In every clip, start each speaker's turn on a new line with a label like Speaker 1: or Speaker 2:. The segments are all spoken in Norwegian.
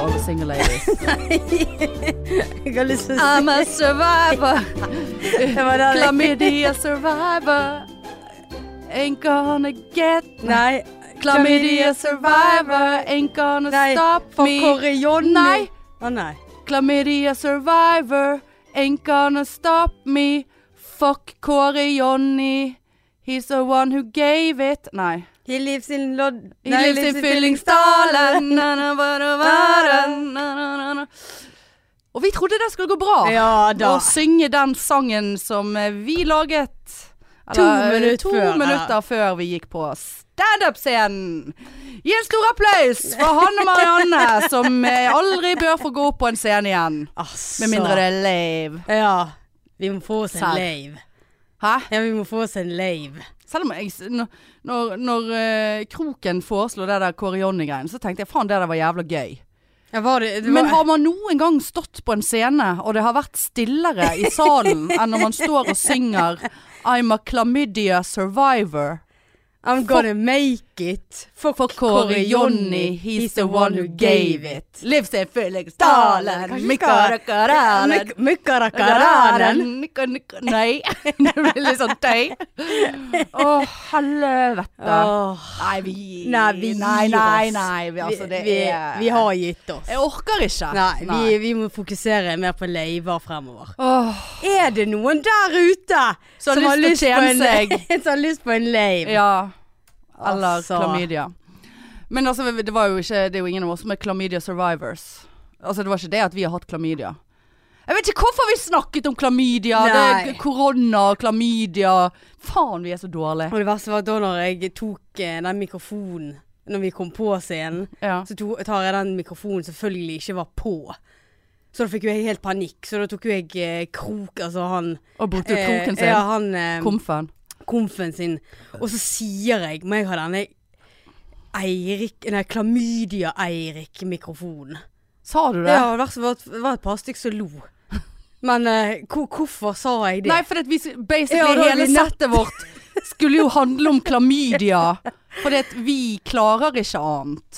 Speaker 1: alle single ladies.
Speaker 2: Jeg har lyst til å
Speaker 1: I'm a survivor.
Speaker 2: si det var det.
Speaker 1: Chlamydia survivor. Ain't gonna get
Speaker 2: Nei.
Speaker 1: Chlamydia survivor. Ain't gonna
Speaker 2: Nei,
Speaker 1: stop
Speaker 2: for
Speaker 1: me.
Speaker 2: Kåre Jonny.
Speaker 1: Nei.
Speaker 2: Å nei.
Speaker 1: Chlamydia survivor. Ain't gonna stop me. Fuck Kåre Jonny. He's the one who gave it. Nei.
Speaker 2: He lives in Lod...
Speaker 1: He
Speaker 2: Nei,
Speaker 1: lives in Fyllingsdalen. Na, na, ba, da, ba, da, na, na, na, na. Og vi trodde det skulle gå bra.
Speaker 2: Ja da.
Speaker 1: å synge den sangen som eh, vi laget
Speaker 2: To minutter
Speaker 1: to
Speaker 2: før,
Speaker 1: minutter før vi gikk på standup-scenen. Gi en stor applaus for Hanne Marianne, som eh, aldri bør få gå opp på en scene igjen.
Speaker 2: Altså.
Speaker 1: Med mindre det er lave.
Speaker 2: Ja. Vi må få oss en
Speaker 1: Serr.
Speaker 2: lave.
Speaker 1: Hæ?
Speaker 2: Ja, vi må få oss en lave.
Speaker 1: Selv om jeg, s- når, når, når eh, Kroken foreslo det der Kåre Jonny-greien, så tenkte jeg faen, det der var jævla gøy.
Speaker 2: Ja, var det, det var,
Speaker 1: Men har man noen gang stått på en scene, og det har vært stillere i salen enn når man står og synger I'm a chlamydia survivor?
Speaker 2: I'm gonna make it. Fuck,
Speaker 1: For Kåre Jonny, he's the one who gave it. Lives in Fyllingsdalen,
Speaker 2: Dalen,
Speaker 1: Mikarakaranen.
Speaker 2: Mykkarakaranen.
Speaker 1: Nei. Det blir litt sånn tøy. Å, helvete.
Speaker 2: Åh.
Speaker 1: Nei, vi
Speaker 2: Nei, vi gir
Speaker 1: Nei, nei,
Speaker 2: oss.
Speaker 1: nei. Vi, altså, det
Speaker 2: vi,
Speaker 1: er
Speaker 2: vi har gitt oss.
Speaker 1: Jeg orker ikke.
Speaker 2: Nei, vi, vi må fokusere mer på leiver fremover.
Speaker 1: Åh.
Speaker 2: Er det noen der ute
Speaker 1: Som har lyst til å
Speaker 2: på en-
Speaker 1: tjene
Speaker 2: som har lyst på en leiv?
Speaker 1: Ja. Eller
Speaker 2: Altså.
Speaker 1: klamydia. Men altså, det var jo ikke Det er jo ingen av oss som er klamydia survivors. Altså, det var ikke det at vi har hatt klamydia. Jeg vet ikke hvorfor vi snakket om klamydia. Det
Speaker 2: Nei.
Speaker 1: er korona, klamydia Faen, vi er så dårlige.
Speaker 2: Og det verste var da når jeg tok eh, den mikrofonen når vi kom på scenen,
Speaker 1: Ja.
Speaker 2: så to, tar jeg den mikrofonen selvfølgelig ikke var på. Så da fikk jo jeg helt panikk. Så da tok jo jeg eh, krok, altså han
Speaker 1: Og brukte jo kroken sin.
Speaker 2: Ja, han eh,
Speaker 1: Komfen.
Speaker 2: komfen sin. Og så sier jeg Må jeg ha denne Eirik Nei, Klamydia-Eirik-mikrofonen.
Speaker 1: Sa du det?
Speaker 2: Ja, det verste var at det var et par stykker som lo. Men eh, hvor, hvorfor sa jeg det?
Speaker 1: Nei, for at vi s- basically
Speaker 2: Ja, da er
Speaker 1: hele
Speaker 2: vi nett-
Speaker 1: settet vårt skulle jo handle om klamydia. Fordi at vi klarer ikke annet.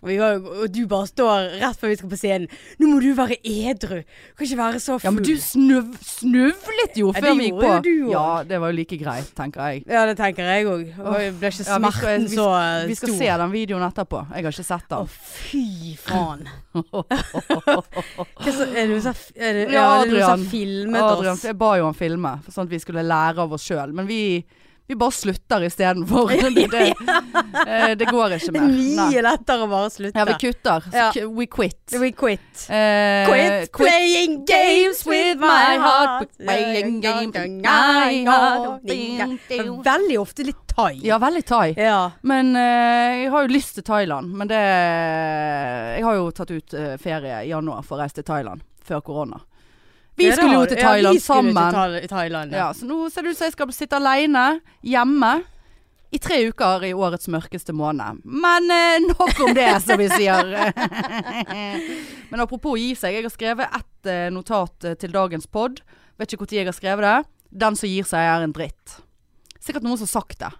Speaker 2: Og, vi var, jo- og du bare står rett før vi skal på scenen. Nå må du være edru! Du kan ikke være så
Speaker 1: Ja,
Speaker 2: full.
Speaker 1: men du snøv, snøvlet jo
Speaker 2: Ja,
Speaker 1: før
Speaker 2: det
Speaker 1: vi gikk på.
Speaker 2: gjorde jo du også.
Speaker 1: ja, det var jo like greit, tenker jeg.
Speaker 2: Ja, det tenker jeg òg. Og jeg ble ikke
Speaker 1: Ja, vi
Speaker 2: smerten
Speaker 1: skal- vi-
Speaker 2: så eh,
Speaker 1: Vi skal
Speaker 2: stor.
Speaker 1: se den videoen etterpå. Jeg har ikke sett
Speaker 2: Å,
Speaker 1: den.
Speaker 2: fy faen. Hva så, er det noen som har- er det-
Speaker 1: Ja,
Speaker 2: ja, er det noen som
Speaker 1: Adrian.
Speaker 2: har filmet
Speaker 1: Adrian,
Speaker 2: oss?
Speaker 1: jeg ba jo han filme, for sånn at vi skulle lære av oss sjøl. Men vi, vi bare slutter istedenfor. Det, det, eh, det går ikke mer. Nei.
Speaker 2: Mye lettere å bare slutte.
Speaker 1: Ja, vi kutter. Så
Speaker 2: Ja.
Speaker 1: ku- We quit.
Speaker 2: We quit.
Speaker 1: Eh,
Speaker 2: Quit playing games with my heart.
Speaker 1: Quit playing games with my heart.
Speaker 2: Veldig ofte litt thai.
Speaker 1: Ja, veldig thai.
Speaker 2: Ja.
Speaker 1: Men eh, jeg har jo lyst til Thailand. Men det Jeg har jo tatt ut eh, ferie i januar for å reise til Thailand før korona. Vi
Speaker 2: Ja, det
Speaker 1: skulle
Speaker 2: har
Speaker 1: jo
Speaker 2: du.
Speaker 1: til Thailand sammen.
Speaker 2: Ja, vi skulle til Tha- Thailand. Ja.
Speaker 1: Ja, så nå ser det ut som jeg skal sitte alene hjemme i tre uker i årets mørkeste måned. Men eh, nok om det, som vi sier. Men apropos gi seg. Jeg har skrevet ett eh, notat eh, til dagens pod. Vet ikke når jeg har skrevet det. Den som gir seg, er en dritt. Sikkert noen som har sagt det.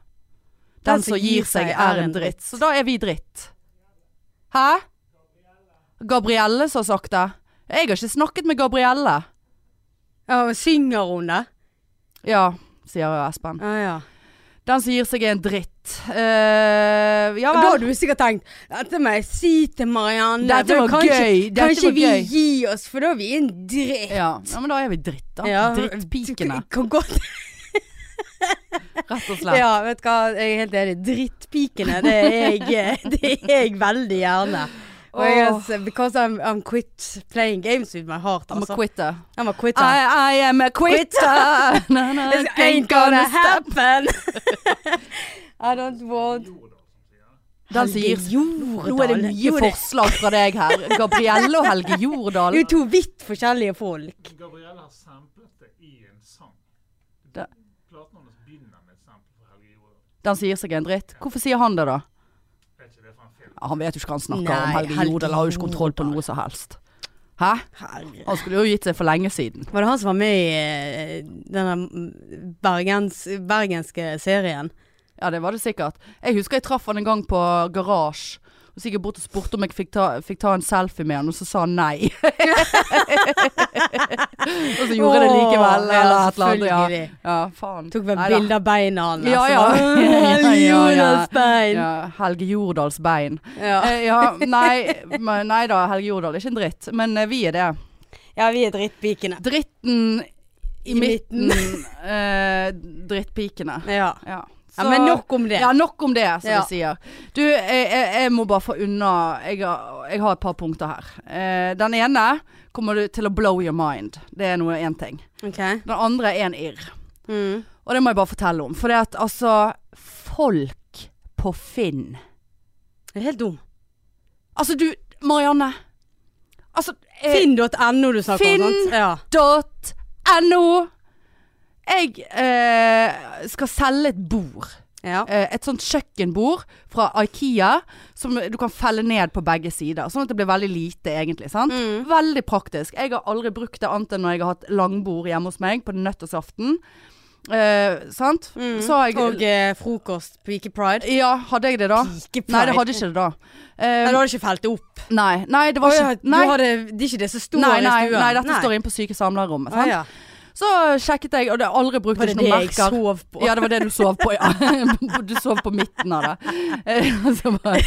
Speaker 1: Den som gir seg, er en dritt. Så da er vi dritt. Hæ? Gabrielle som har sagt det? Jeg har ikke snakket med Gabrielle.
Speaker 2: Ja, og synger hun det?
Speaker 1: Ja, sier Espen.
Speaker 2: Ja, ja.
Speaker 1: Den som gir seg er en dritt. Eh, ja
Speaker 2: Og Da har
Speaker 1: vel.
Speaker 2: du sikkert tenkt Dette må jeg si til Marianne.
Speaker 1: Dette
Speaker 2: for
Speaker 1: var gøy. Dette
Speaker 2: kanskje
Speaker 1: var
Speaker 2: vi
Speaker 1: gøy.
Speaker 2: gi oss, for da er vi en dritt.
Speaker 1: Ja. ja, men da er vi dritt, da.
Speaker 2: Ja,
Speaker 1: Drittpikene,
Speaker 2: Kan godt
Speaker 1: rett og slett.
Speaker 2: Ja, vet du hva, jeg er helt enig. Drittpikene, det er jeg, det er jeg veldig gjerne. Og jeg,
Speaker 1: Åh.
Speaker 2: er- because I'm, I'm quit playing games with my heart,
Speaker 1: I'm a
Speaker 2: altså.
Speaker 1: quitter.
Speaker 2: I'm a quitter.
Speaker 1: I, I am a quitter. Na, na,
Speaker 2: This ain't gonna happen. I don't want
Speaker 1: Den som gir seg
Speaker 2: Jordal.
Speaker 1: Nå er det nye forslag fra deg her. Gabrielle og Helge Jordal.
Speaker 2: Det er jo to vidt forskjellige folk.
Speaker 3: Gabrielle har samplet det i en sang.
Speaker 1: Da-
Speaker 3: Platen hennes begynner med et sample fra Helge Jordal.
Speaker 1: Den som gir seg er en dritt. Hvorfor sier han det, da?
Speaker 3: Er ikke det fra en film?
Speaker 1: Ja, Han vet jo ikke hva han snakker om.
Speaker 2: Nei,
Speaker 1: Helge
Speaker 2: Helge
Speaker 1: Jordal har jo ikke kontroll på
Speaker 2: Jordal.
Speaker 1: noe som helst. Hæ?
Speaker 2: Herre.
Speaker 1: Han skulle jo gitt seg for lenge siden.
Speaker 2: Var det han som var med i eh, denne mm, bergens, bergenske serien?
Speaker 1: Ja, det var det sikkert. Jeg husker jeg traff han en gang på garasje. Og Så gikk jeg bort og spurte om jeg fikk ta, fikk ta en selfie med han, og så sa han nei. og så gjorde jeg det likevel,
Speaker 2: Åh,
Speaker 1: eller et eller
Speaker 2: ja,
Speaker 1: annet. Ja,
Speaker 2: selvfølgelig.
Speaker 1: ja faen.
Speaker 2: Tok vel
Speaker 1: Neida.
Speaker 2: bilde av beina hans.
Speaker 1: Ja, ja.
Speaker 2: og bare,
Speaker 1: Ja, ja, ja.
Speaker 2: Jonas bein.
Speaker 1: Ja, Helge Jordals bein.
Speaker 2: Ja.
Speaker 1: Eh, ja, nei, men- nei da, Helge Jordal er ikke en dritt, men eh, vi er det.
Speaker 2: ja, vi er drittpikene.
Speaker 1: Dritten i,
Speaker 2: I
Speaker 1: midten,
Speaker 2: midten.
Speaker 1: eh, drittpikene.
Speaker 2: Ja.
Speaker 1: Ja.
Speaker 2: ja,
Speaker 1: Så-
Speaker 2: men nok om det.
Speaker 1: Ja, nok om det, som
Speaker 2: Ja.
Speaker 1: vi sier. Du, jeg, jeg, jeg må bare få unna jeg, har- jeg har et par punkter her. Eh, den ene kommer du til å blow your mind. Det er noe én ting.
Speaker 2: Ok.
Speaker 1: Den andre er en irr.
Speaker 2: Mm.
Speaker 1: Og det må jeg bare fortelle om. For det at altså Folk på Finn
Speaker 2: Det er helt dum.
Speaker 1: Altså du, Marianne. Altså eh,
Speaker 2: Finn.no du snakker om, sant? Ja.
Speaker 1: Finn.no. Jeg eh, skal selge et bord.
Speaker 2: ja.
Speaker 1: Eh, et sånt kjøkkenbord fra Ikea som du kan felle ned på begge sider. Sånn at det blir veldig lite, egentlig. Sant?
Speaker 2: Mm.
Speaker 1: Veldig praktisk. Jeg har aldri brukt det annet enn når jeg har hatt langbord hjemme hos meg på nyttårsaften. Eh, sant?
Speaker 2: Mm.
Speaker 1: Så har jeg
Speaker 2: Og eh, frokost på Vike Pride.
Speaker 1: Ja, hadde jeg det da?
Speaker 2: Vike
Speaker 1: Nei, det
Speaker 2: Pride.
Speaker 1: hadde ikke det da.
Speaker 2: Nei,
Speaker 1: Eh,
Speaker 2: du hadde ikke felt det opp.
Speaker 1: nei, nei, det var
Speaker 2: Å ja,
Speaker 1: ikke Nei,
Speaker 2: Du hadde, det er ikke det som står
Speaker 1: nei,
Speaker 2: i
Speaker 1: nei,
Speaker 2: stua.
Speaker 1: nei dette står inne på syke samlerrommet.
Speaker 2: ah,
Speaker 1: Sant?
Speaker 2: ja.
Speaker 1: Så sjekket jeg, og det har aldri brukt
Speaker 2: Var det
Speaker 1: ikke
Speaker 2: det
Speaker 1: noen
Speaker 2: jeg
Speaker 1: merker.
Speaker 2: sov på?
Speaker 1: Ja, det var det du sov på, ja. Du sov på midten av det. Eh, Så bare,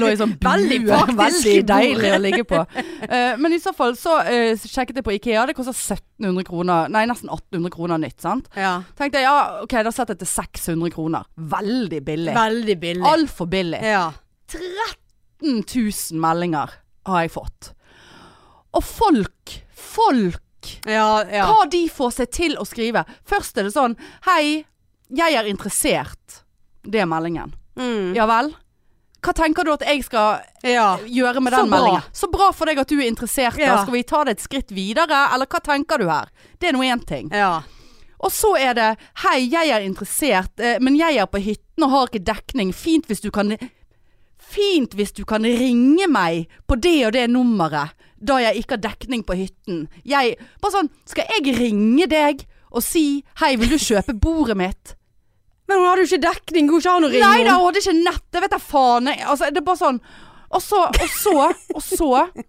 Speaker 1: lå i sånn bue.
Speaker 2: Veldig praktisk
Speaker 1: Veldig
Speaker 2: bord.
Speaker 1: deilig å ligge på. Eh, Men i så fall så eh, sjekket jeg på Ikea. Det koster 1700 kroner, nei nesten 1800 kroner nytt, sant?
Speaker 2: Ja.
Speaker 1: Tenkte jeg, ja, ok, da setter jeg til 600 kroner. Veldig billig.
Speaker 2: Veldig billig.
Speaker 1: Altfor billig.
Speaker 2: ja.
Speaker 1: 13 000 meldinger har jeg fått. Og folk, folk
Speaker 2: Ja, ja.
Speaker 1: hva de får seg til å skrive. Først er det sånn Hei, jeg er interessert. Det er meldingen.
Speaker 2: Mm.
Speaker 1: Ja vel? Hva tenker du at jeg skal
Speaker 2: ja.
Speaker 1: gjøre med
Speaker 2: Så
Speaker 1: den
Speaker 2: bra.
Speaker 1: meldingen? Så bra for deg at du er interessert. Da.
Speaker 2: Ja.
Speaker 1: Skal vi ta det et skritt videre, eller hva tenker du her? Det er nå én ting.
Speaker 2: Ja.
Speaker 1: Og så er det Hei, jeg er interessert, eh, men jeg er på hytten og har ikke dekning. Fint hvis du kan Fint hvis du kan ringe meg på det og det nummeret da jeg ikke har dekning på hytten. Jeg Bare sånn Skal jeg ringe deg og si 'Hei, vil du kjøpe bordet mitt?'
Speaker 2: Men hun hadde jo ikke dekning. Går ikke an å ringe
Speaker 1: Nei da,
Speaker 2: henne.
Speaker 1: hun hadde ikke nett. Det vet da faen. jeg. Altså, det er bare sånn. Og så, og så, og så.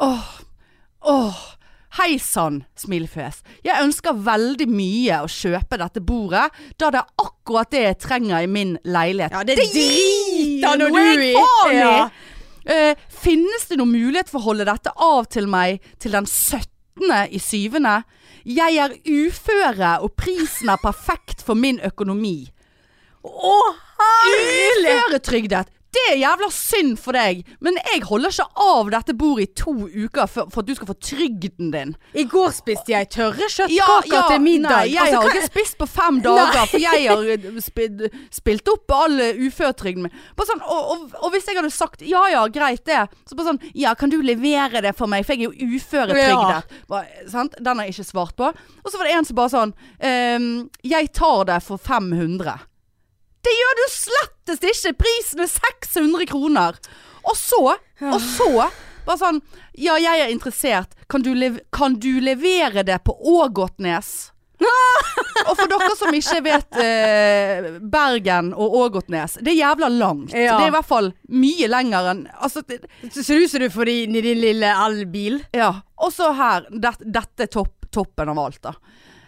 Speaker 1: Åh. Åh. Hei sann, smilefjes. Jeg ønsker veldig mye å kjøpe dette bordet, da det er akkurat det jeg trenger i min leilighet.
Speaker 2: Ja, det, driter nå
Speaker 1: noe
Speaker 2: du
Speaker 1: jeg
Speaker 2: i.
Speaker 1: faen i!
Speaker 2: Ja.
Speaker 1: Eh, finnes det noen mulighet for å holde dette av til meg til den 17. i syvende? Jeg er uføre, og prisen er perfekt for min økonomi.
Speaker 2: Å, herlig!
Speaker 1: Uføretrygdet! Det er jævla synd for deg, men jeg holder ikke av dette bordet i to uker for, for at du skal få trygden din.
Speaker 2: I går spiste jeg tørre kjøttkaker til middag.
Speaker 1: Nei, jeg
Speaker 2: Altså,
Speaker 1: har
Speaker 2: hva-
Speaker 1: ikke spist på fem dager, for jeg har eh, spidd- spilt opp all eh, uføretrygden min. Bare sånn, og, og, og hvis jeg hadde sagt ja ja, greit det, så bare sånn ja, kan du levere det for meg, for jeg er jo uføretrygdet. Bare, sant? Den har jeg ikke svart på. Og så var det en som bare sånn ehm, jeg tar det for 500. Det gjør du slettest ikke! Prisen er 600 kroner. Og så, og så bare sånn Ja, jeg er interessert. Kan du, lev kan du levere det på Ågotnes? og for dere som ikke vet eh, Bergen og Ågotnes, det er jævla langt.
Speaker 2: Ja.
Speaker 1: Det er i hvert fall mye lenger enn Altså, det,
Speaker 2: Så ser det ut som du får det inn i din lille elbil.
Speaker 1: ja. Og så her. Det, dette er topp, toppen av alt, da.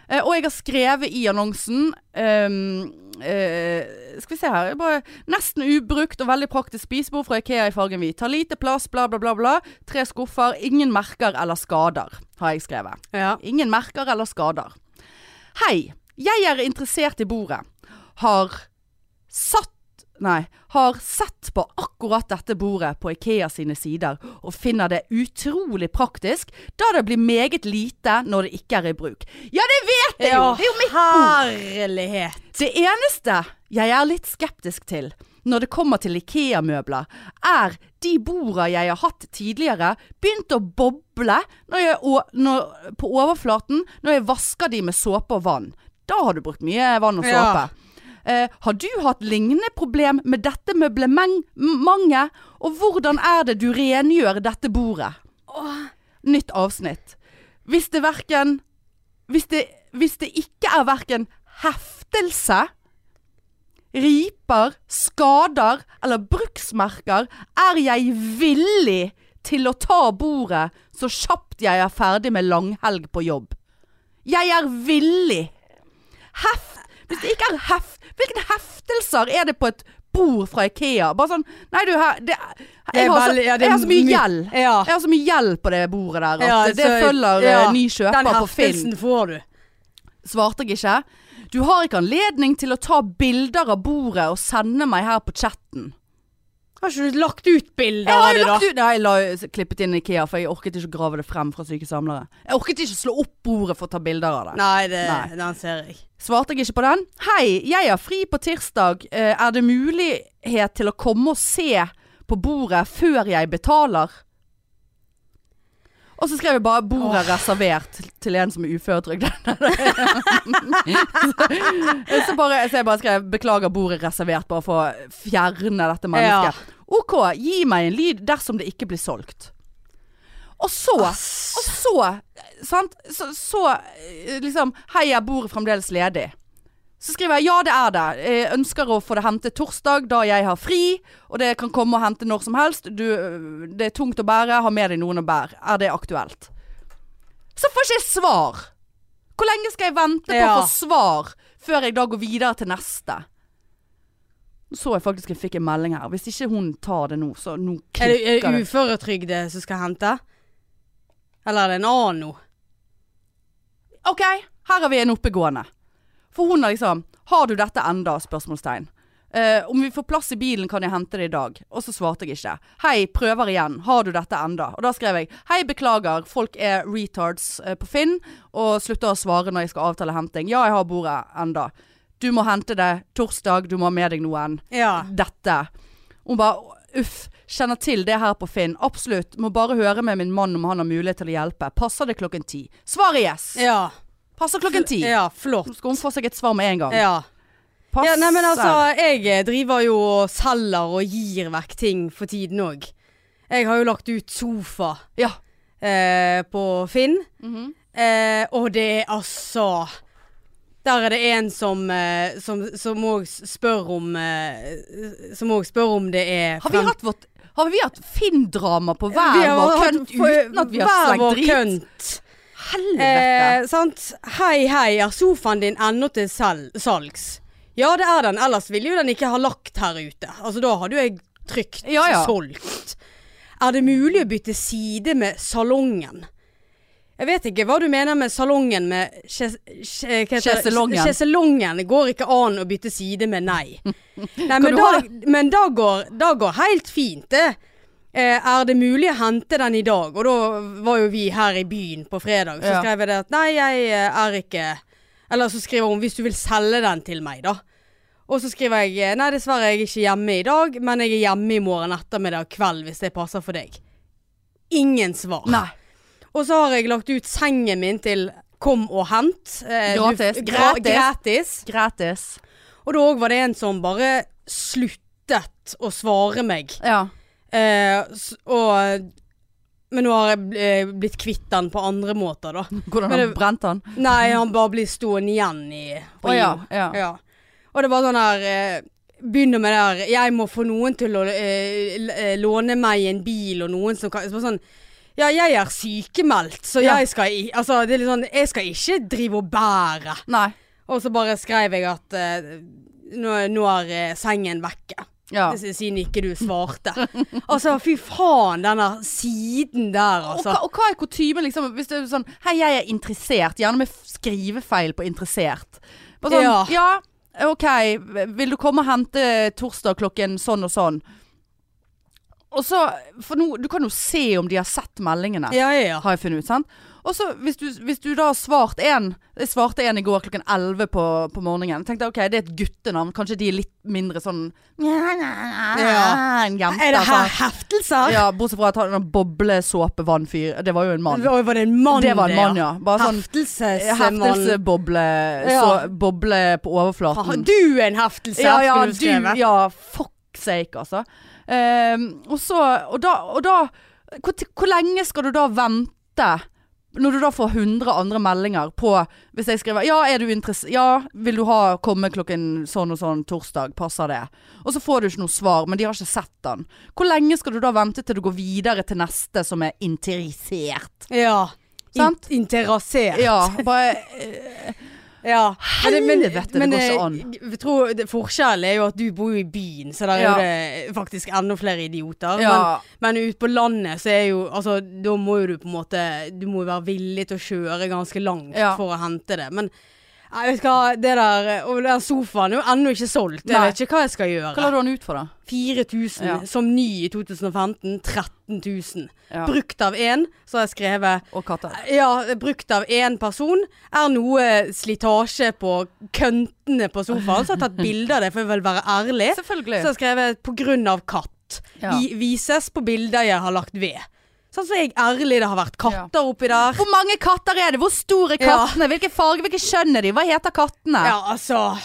Speaker 1: Eh, og jeg har skrevet i annonsen ehm, eh, Skal vi se her jeg bare, Nesten ubrukt og veldig praktisk spisebord fra Ikea i fargen hvit. Tar lite plass, bla, bla, bla. bla Tre skuffer. Ingen merker eller skader, har jeg skrevet.
Speaker 2: Ja.
Speaker 1: Ingen merker eller skader. Hei, jeg er interessert i bordet. Har satt Nei, har sett på akkurat dette bordet på Ikea sine sider, og finner det utrolig praktisk, da det blir meget lite når det ikke er i bruk. Ja, det vet jeg jo! Det er jo mitt bord!
Speaker 2: Herlighet.
Speaker 1: Det eneste jeg er litt skeptisk til når det kommer til Ikea-møbler, er de borda jeg har hatt tidligere, begynte å boble når jeg, å- når, på overflaten når jeg vasker de med såpe og vann. Da har du brukt mye vann og såpe.
Speaker 2: Ja.
Speaker 1: Eh, har du hatt lignende problem med dette møblementet, og hvordan er det du rengjør dette bordet? Nytt avsnitt. Hvis det verken hvis det, hvis det ikke er verken heftelse, riper, skader eller bruksmerker er jeg villig til å ta bordet så kjapt jeg er ferdig med langhelg på jobb. Jeg er villig. Heft. Hvis det ikke er heft Hvilke heftelser er det på et bord fra Ikea? Bare sånn Nei, du, her det, jeg, har så,
Speaker 2: veldig- ja, det er
Speaker 1: jeg har så mye
Speaker 2: my-
Speaker 1: gjeld.
Speaker 2: Ja.
Speaker 1: Jeg har så mye gjeld på det bordet der at det, det
Speaker 2: så-
Speaker 1: følger
Speaker 2: ja,
Speaker 1: eh, ny kjøper på
Speaker 2: Den
Speaker 1: Finn.
Speaker 2: heftelsen får du.
Speaker 1: Svarte jeg ikke. Du har ikke anledning til å ta bilder av bordet og sende meg her på chatten.
Speaker 2: Har ikke du lagt ut bilder
Speaker 1: Jeg
Speaker 2: av
Speaker 1: har
Speaker 2: det,
Speaker 1: jo
Speaker 2: da?
Speaker 1: lagt ut Nei, jeg la, klippet inn Ikea, for jeg orket ikke å grave det frem fra syke samlere. Jeg orket ikke slå opp bordet for å ta bilder av det.
Speaker 2: Nei, det,
Speaker 1: Nei.
Speaker 2: den ser jeg.
Speaker 1: Svarte jeg ikke på den? Hei, jeg har fri på tirsdag. Eh, Er det mulighet til å komme og se på bordet før jeg betaler? Og så skrev jeg bare 'bordet er reservert til- til en som er uføretrygd'. så, bare- så jeg bare skrev 'beklager, bordet er reservert', bare for å fjerne dette mennesket.
Speaker 2: Ja.
Speaker 1: OK, gi meg en lyd dersom det ikke blir solgt. Og så og så, sant, så, så eh, liksom Hei, jeg bor fremdeles ledig. Så skriver jeg ja, det er det. Jeg ønsker å få det hentet torsdag, da jeg har fri. Og det kan komme og hente når som helst. Du, øh, det er tungt å bære, ha med deg noen å bære. Er det aktuelt? Så får ikke jeg svar! Hvor lenge skal jeg vente på å
Speaker 2: Ja.
Speaker 1: få svar før jeg da går videre til neste? Nå Så jeg faktisk jeg fikk en melding her. Hvis ikke hun tar det nå, så nå
Speaker 2: Er det, er
Speaker 1: klikker
Speaker 2: det
Speaker 1: det.
Speaker 2: uføretrygde som skal hente? Eller er det en annen nå?
Speaker 1: Ok, her har vi en oppegående. For hun har liksom Har du dette enda? spørsmålstegn. Eh, om vi får plass i bilen, kan jeg hente det i dag? Og så svarte jeg ikke. Hei, prøver igjen. Har du dette enda? Og da skrev jeg Hei, beklager. Folk er retards eh, på Finn og slutter å svare når jeg skal avtale henting. Ja, jeg har bordet enda. Du må hente det torsdag. Du må ha med deg noen
Speaker 2: Ja.
Speaker 1: dette. Hun bare uff, kjenner til det her på Finn. Absolutt. Må bare høre med min mann om han har mulighet til å hjelpe. Passer det klokken ti? Svaret yes.
Speaker 2: Ja.
Speaker 1: Passer klokken ti.
Speaker 2: Ja, flott.
Speaker 1: Nå skal hun få seg et svar med en gang.
Speaker 2: Ja.
Speaker 1: Passer.
Speaker 2: ja. Nei, men altså, jeg driver jo og selger og gir vekk ting for tiden òg. Jeg har jo lagt ut sofa
Speaker 1: Ja.
Speaker 2: eh, på Finn.
Speaker 1: Mhm.
Speaker 2: Eh, og det er altså Der er det en som eh, som, som òg spør om eh, Som òg spør om det er
Speaker 1: Har vi
Speaker 2: frem-
Speaker 1: hatt vårt Har vi hatt Finn-drama på
Speaker 2: Vi
Speaker 1: hver
Speaker 2: har
Speaker 1: vår
Speaker 2: hatt-
Speaker 1: kønt
Speaker 2: for-
Speaker 1: uten at vi har
Speaker 2: hver
Speaker 1: slengt
Speaker 2: vår
Speaker 1: drit?
Speaker 2: kønt.
Speaker 1: Helvete.
Speaker 2: Eh, sant? Hei, hei, er sofaen din ennå til sel salgs? Ja, det er den. Ellers ville jo den ikke ha lagt her ute. Altså, da hadde jo jeg trygt
Speaker 1: Ja, ja.
Speaker 2: solgt. Er det mulig å bytte side med salongen? Jeg vet ikke hva du mener med salongen med kjes- kje- hva heter det?
Speaker 1: Sjeselongen.
Speaker 2: Sjeselongen. Det går ikke an å bytte side med nei. nei men
Speaker 1: du
Speaker 2: da,
Speaker 1: ha
Speaker 2: men da går, da går helt fint, det. Eh, er det mulig å hente den i dag? Og da var jo vi her i byen på fredag. Så
Speaker 1: Ja.
Speaker 2: skrev jeg det at nei, jeg eh, er ikke Eller så skriver hun hvis du vil selge den til meg, da. Og så skriver jeg eh, nei, dessverre jeg er ikke hjemme i dag, men jeg er hjemme i morgen ettermiddag kveld hvis det passer for deg. Ingen svar.
Speaker 1: Nei.
Speaker 2: Og så har jeg lagt ut sengen min til kom og hent. Eh, du-
Speaker 1: Gratis.
Speaker 2: Gra
Speaker 1: Gratis.
Speaker 2: gratis.
Speaker 1: Gratis.
Speaker 2: Og da òg var det en som bare sluttet å svare meg.
Speaker 1: Ja.
Speaker 2: Eh, s- og Men nå har jeg bl- eh, blitt kvitt den på andre måter, da.
Speaker 1: Hvordan
Speaker 2: Men
Speaker 1: har
Speaker 2: det-
Speaker 1: du brent den?
Speaker 2: Nei, han bare blir stående igjen i på
Speaker 1: Å ja.
Speaker 2: jorda.
Speaker 1: ja.
Speaker 2: Ja. Og det var sånn her eh, Begynner med det her Jeg må få noen til å eh, l- eh, låne meg en bil, og noen som kan så bare sånn, Ja, jeg er sykemeldt, så
Speaker 1: Ja.
Speaker 2: jeg skal i, Altså, det er litt sånn Jeg skal ikke drive og bære.
Speaker 1: Nei.
Speaker 2: Og så bare skrev jeg at eh, nå, nå er eh, sengen vekke.
Speaker 1: Ja.
Speaker 2: S- Siden ikke du svarte. Altså, fy faen, denne siden der,
Speaker 1: Og,
Speaker 2: altså.
Speaker 1: hva, og hva er kutymen, liksom? Hvis det er sånn Hei, jeg er interessert. Gjerne med f- skrivefeil på interessert. Bare sånn,
Speaker 2: Ja.
Speaker 1: ja. OK, vil du komme og hente torsdag klokken sånn og sånn? Og så For nå, du kan jo se om de har sett meldingene.
Speaker 2: Ja, ja, ja.
Speaker 1: Har jeg funnet ut, sant? Og så hvis, du- hvis du da har svart en Jeg svarte en i går klokken 11 på, på morgenen. Tenkte ok, det er et guttenavn. Kanskje de er litt mindre sånn
Speaker 2: Ja.
Speaker 1: En jente.
Speaker 2: Er det her
Speaker 1: sånn.
Speaker 2: heftelser?
Speaker 1: Ja, bortsett fra at han har boblesåpevannfyr. Det var jo en mann.
Speaker 2: Oi, var det en mann,
Speaker 1: Det var en mann, ja. Bare sånn
Speaker 2: Heftelsemann.
Speaker 1: heftelseboble
Speaker 2: Ja.
Speaker 1: så, Boble på
Speaker 2: Faen,
Speaker 1: overflaten.
Speaker 2: Du er en heftelse,
Speaker 1: Mm. ja, ja,
Speaker 2: skulle du
Speaker 1: du,
Speaker 2: skrevet.
Speaker 1: ja, fuck sake, altså. Ehm, og så Og da, og da hvor, t- hvor lenge skal du da vente Når du da får 100 andre meldinger på Hvis jeg skriver Ja, er du interessert Ja, vil du ha komme klokken sånn og sånn torsdag? Passer det? Og så får du ikke noe svar, men de har ikke sett den. Hvor lenge skal du da vente til du går videre til neste som er interessert?
Speaker 2: Ja.
Speaker 1: Sant?
Speaker 2: In Interessert.
Speaker 1: Ja, bare
Speaker 2: Ja.
Speaker 1: Helvete, det går ikke an.
Speaker 2: eh, Jeg tror det- forskjellen er jo at du bor jo i byen, så der er
Speaker 1: Ja.
Speaker 2: jo det faktisk enda flere idioter.
Speaker 1: Ja.
Speaker 2: Men, men ute på landet så er jo Altså, da må jo du på en måte Du må jo være villig til å kjøre ganske langt
Speaker 1: Ja.
Speaker 2: for å hente det. Men jeg vet hva, det der Og den sofaen er jo ennå ikke solgt. Jeg
Speaker 1: Nei.
Speaker 2: vet ikke hva jeg skal gjøre.
Speaker 1: Hva la du han ut for, da?
Speaker 2: 4000
Speaker 1: Ja.
Speaker 2: som ny i 2015. 13 000.
Speaker 1: Ja.
Speaker 2: Brukt av én, så har jeg skrevet
Speaker 1: Og katter.
Speaker 2: ja, brukt av én person. Er noe slitasje på køntene på sofaen. Så har jeg tatt bilde av det, for jeg vil være ærlig. Så
Speaker 1: Selvfølgelig.
Speaker 2: har jeg skrevet 'på grunn av katt'.
Speaker 1: Ja.
Speaker 2: Vi, vises på bilder jeg har lagt ved. Sånn så er jeg ærlig. Det har vært katter oppi der.
Speaker 1: Hvor mange katter er det? Hvor store er
Speaker 2: Ja.
Speaker 1: kattene? Hvilken farge, hvilken kjønn er de? Hva heter kattene?
Speaker 2: Ja, altså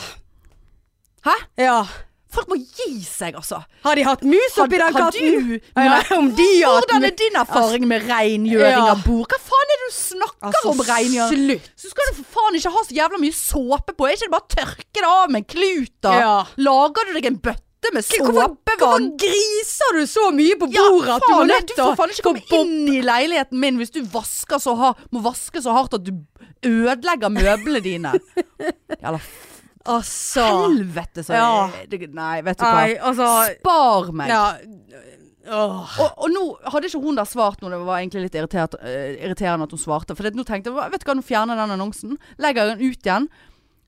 Speaker 1: Hæ?
Speaker 2: Ja.
Speaker 1: Folk må gi seg, altså.
Speaker 2: Har de hatt mus oppi den
Speaker 1: har
Speaker 2: katten?
Speaker 1: du-
Speaker 2: Nei, nei, om de har hatt
Speaker 1: Hvordan
Speaker 2: mus
Speaker 1: er din erfaring med Altså, rengjøring
Speaker 2: Ja.
Speaker 1: av bord? Hva faen er det du snakker om rengjøring?
Speaker 2: Altså, slutt.
Speaker 1: Så skal du for faen ikke ha så jævla mye såpe på. Er ikke det bare å tørke det av med en klut, da?
Speaker 2: Ja.
Speaker 1: Lager du deg en bøtte med
Speaker 2: Hvorfor, hvorfor
Speaker 1: såpevann?
Speaker 2: griser du så mye på
Speaker 1: Ja,
Speaker 2: bordet at du må
Speaker 1: faen,
Speaker 2: nødt
Speaker 1: du
Speaker 2: til å
Speaker 1: får faen ikke
Speaker 2: få
Speaker 1: komme inn i leiligheten min hvis du vasker så har- må vaske så hardt at du ødelegger møblene dine. Jævla
Speaker 2: Altså
Speaker 1: helvete, så
Speaker 2: Ja.
Speaker 1: jeg Nei, vet du hva.
Speaker 2: Nei, altså
Speaker 1: Spar meg.
Speaker 2: Ja. Åh.
Speaker 1: Og, og nå hadde ikke hun da svart noe, det var egentlig litt irritert, eh, irriterende at hun svarte. For det, nå tenkte jeg, hva- vet du hva, nå fjerner jeg den annonsen, legger den ut igjen